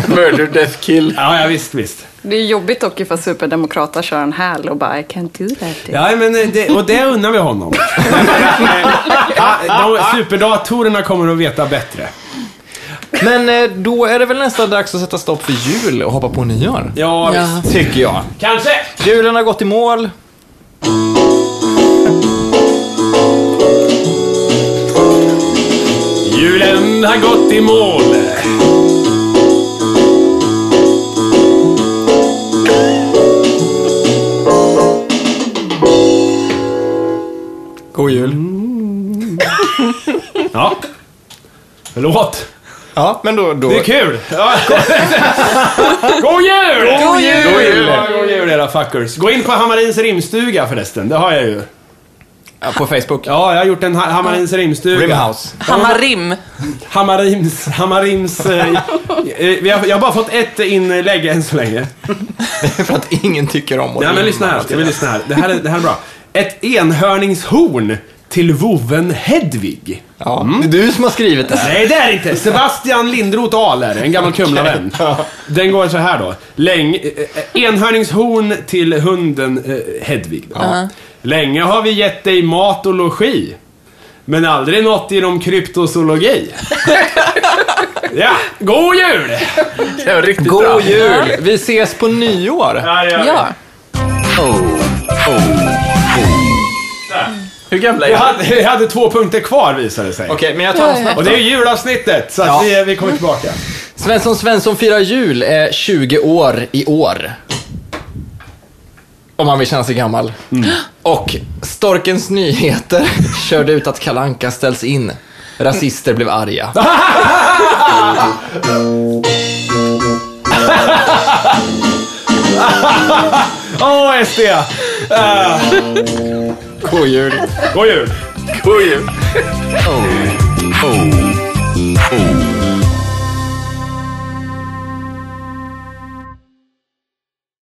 E: Murder, death, kill.
C: Ja, ja visst, visst.
F: Det är jobbigt dock ifall superdemokrater kör en häl och bara I can't do that.
C: Ja, men eh, det, och det unnar vi honom. [LAUGHS] Ja, de, superdatorerna kommer att veta bättre.
B: Men eh, då är det väl nästan dags att sätta stopp för jul och hoppa på nyår.
C: Ja,
D: Ja.
C: visst.
B: Tycker jag.
C: Kanske!
B: Julen har gått i mål.
C: Julen har gått i mål.
B: God
C: Mm.
B: jul.
C: Ja. Förlåt.
B: Ja, men då... då
C: Det är kul. [LAUGHS] Ja. God jul!
D: God jul!
C: God jul! Ja, God jul era fuckers. Gå in på Hammarins rimstuga förresten. Det har jag ju.
B: ja, på Facebook.
C: Ja, jag har gjort en ha- Hammarins rimstuga.
B: Rimhouse. [LAUGHS]
D: Hammarim.
C: Hammarims... Hammarims... Eh, [LAUGHS] eh, vi har, jag har bara fått ett inlägg än så länge.
B: För att ingen tycker om att
C: Nej men
B: rimma.
C: lyssna här. Jag vill lyssna här. Det här, är, det här är bra. Ett enhörningshorn till voven Hedvig.
B: Ja,
C: Mm.
B: Det är du som har skrivit det.
C: Nej, det är det inte. Sebastian Lindroth Ahler, en gammal Kumlavän. Den går så här då. Läng, eh, eh, enhörningshorn till hunden eh, Hedvig. Då. Länge har vi gett dig mat och logi. Men aldrig något inom
D: [LAUGHS]
C: kryptozoologi. ja, god jul!
E: Det var riktigt bra.
B: God jul! Vi ses på nyår.
D: Ja.
E: Hur gamla är
C: Jag,
E: ni?
C: hade, jag hade två punkter kvar visade det sig.
B: Okej, men jag tar en snabb.
C: Och det är ju julavsnittet, så att
B: Ja.
C: vi, vi kommer tillbaka.
B: Svensson Svensson firar jul eh, är 20 år i år. Om man vill känna sig gammal. Och Storkens Nyheter [LAUGHS] körde ut att Kalanka ställs in. Rasister blev arga.
C: Åh, Ah. SD!
B: Kojul.
C: God jul!
E: Oj!
A: ho, ho.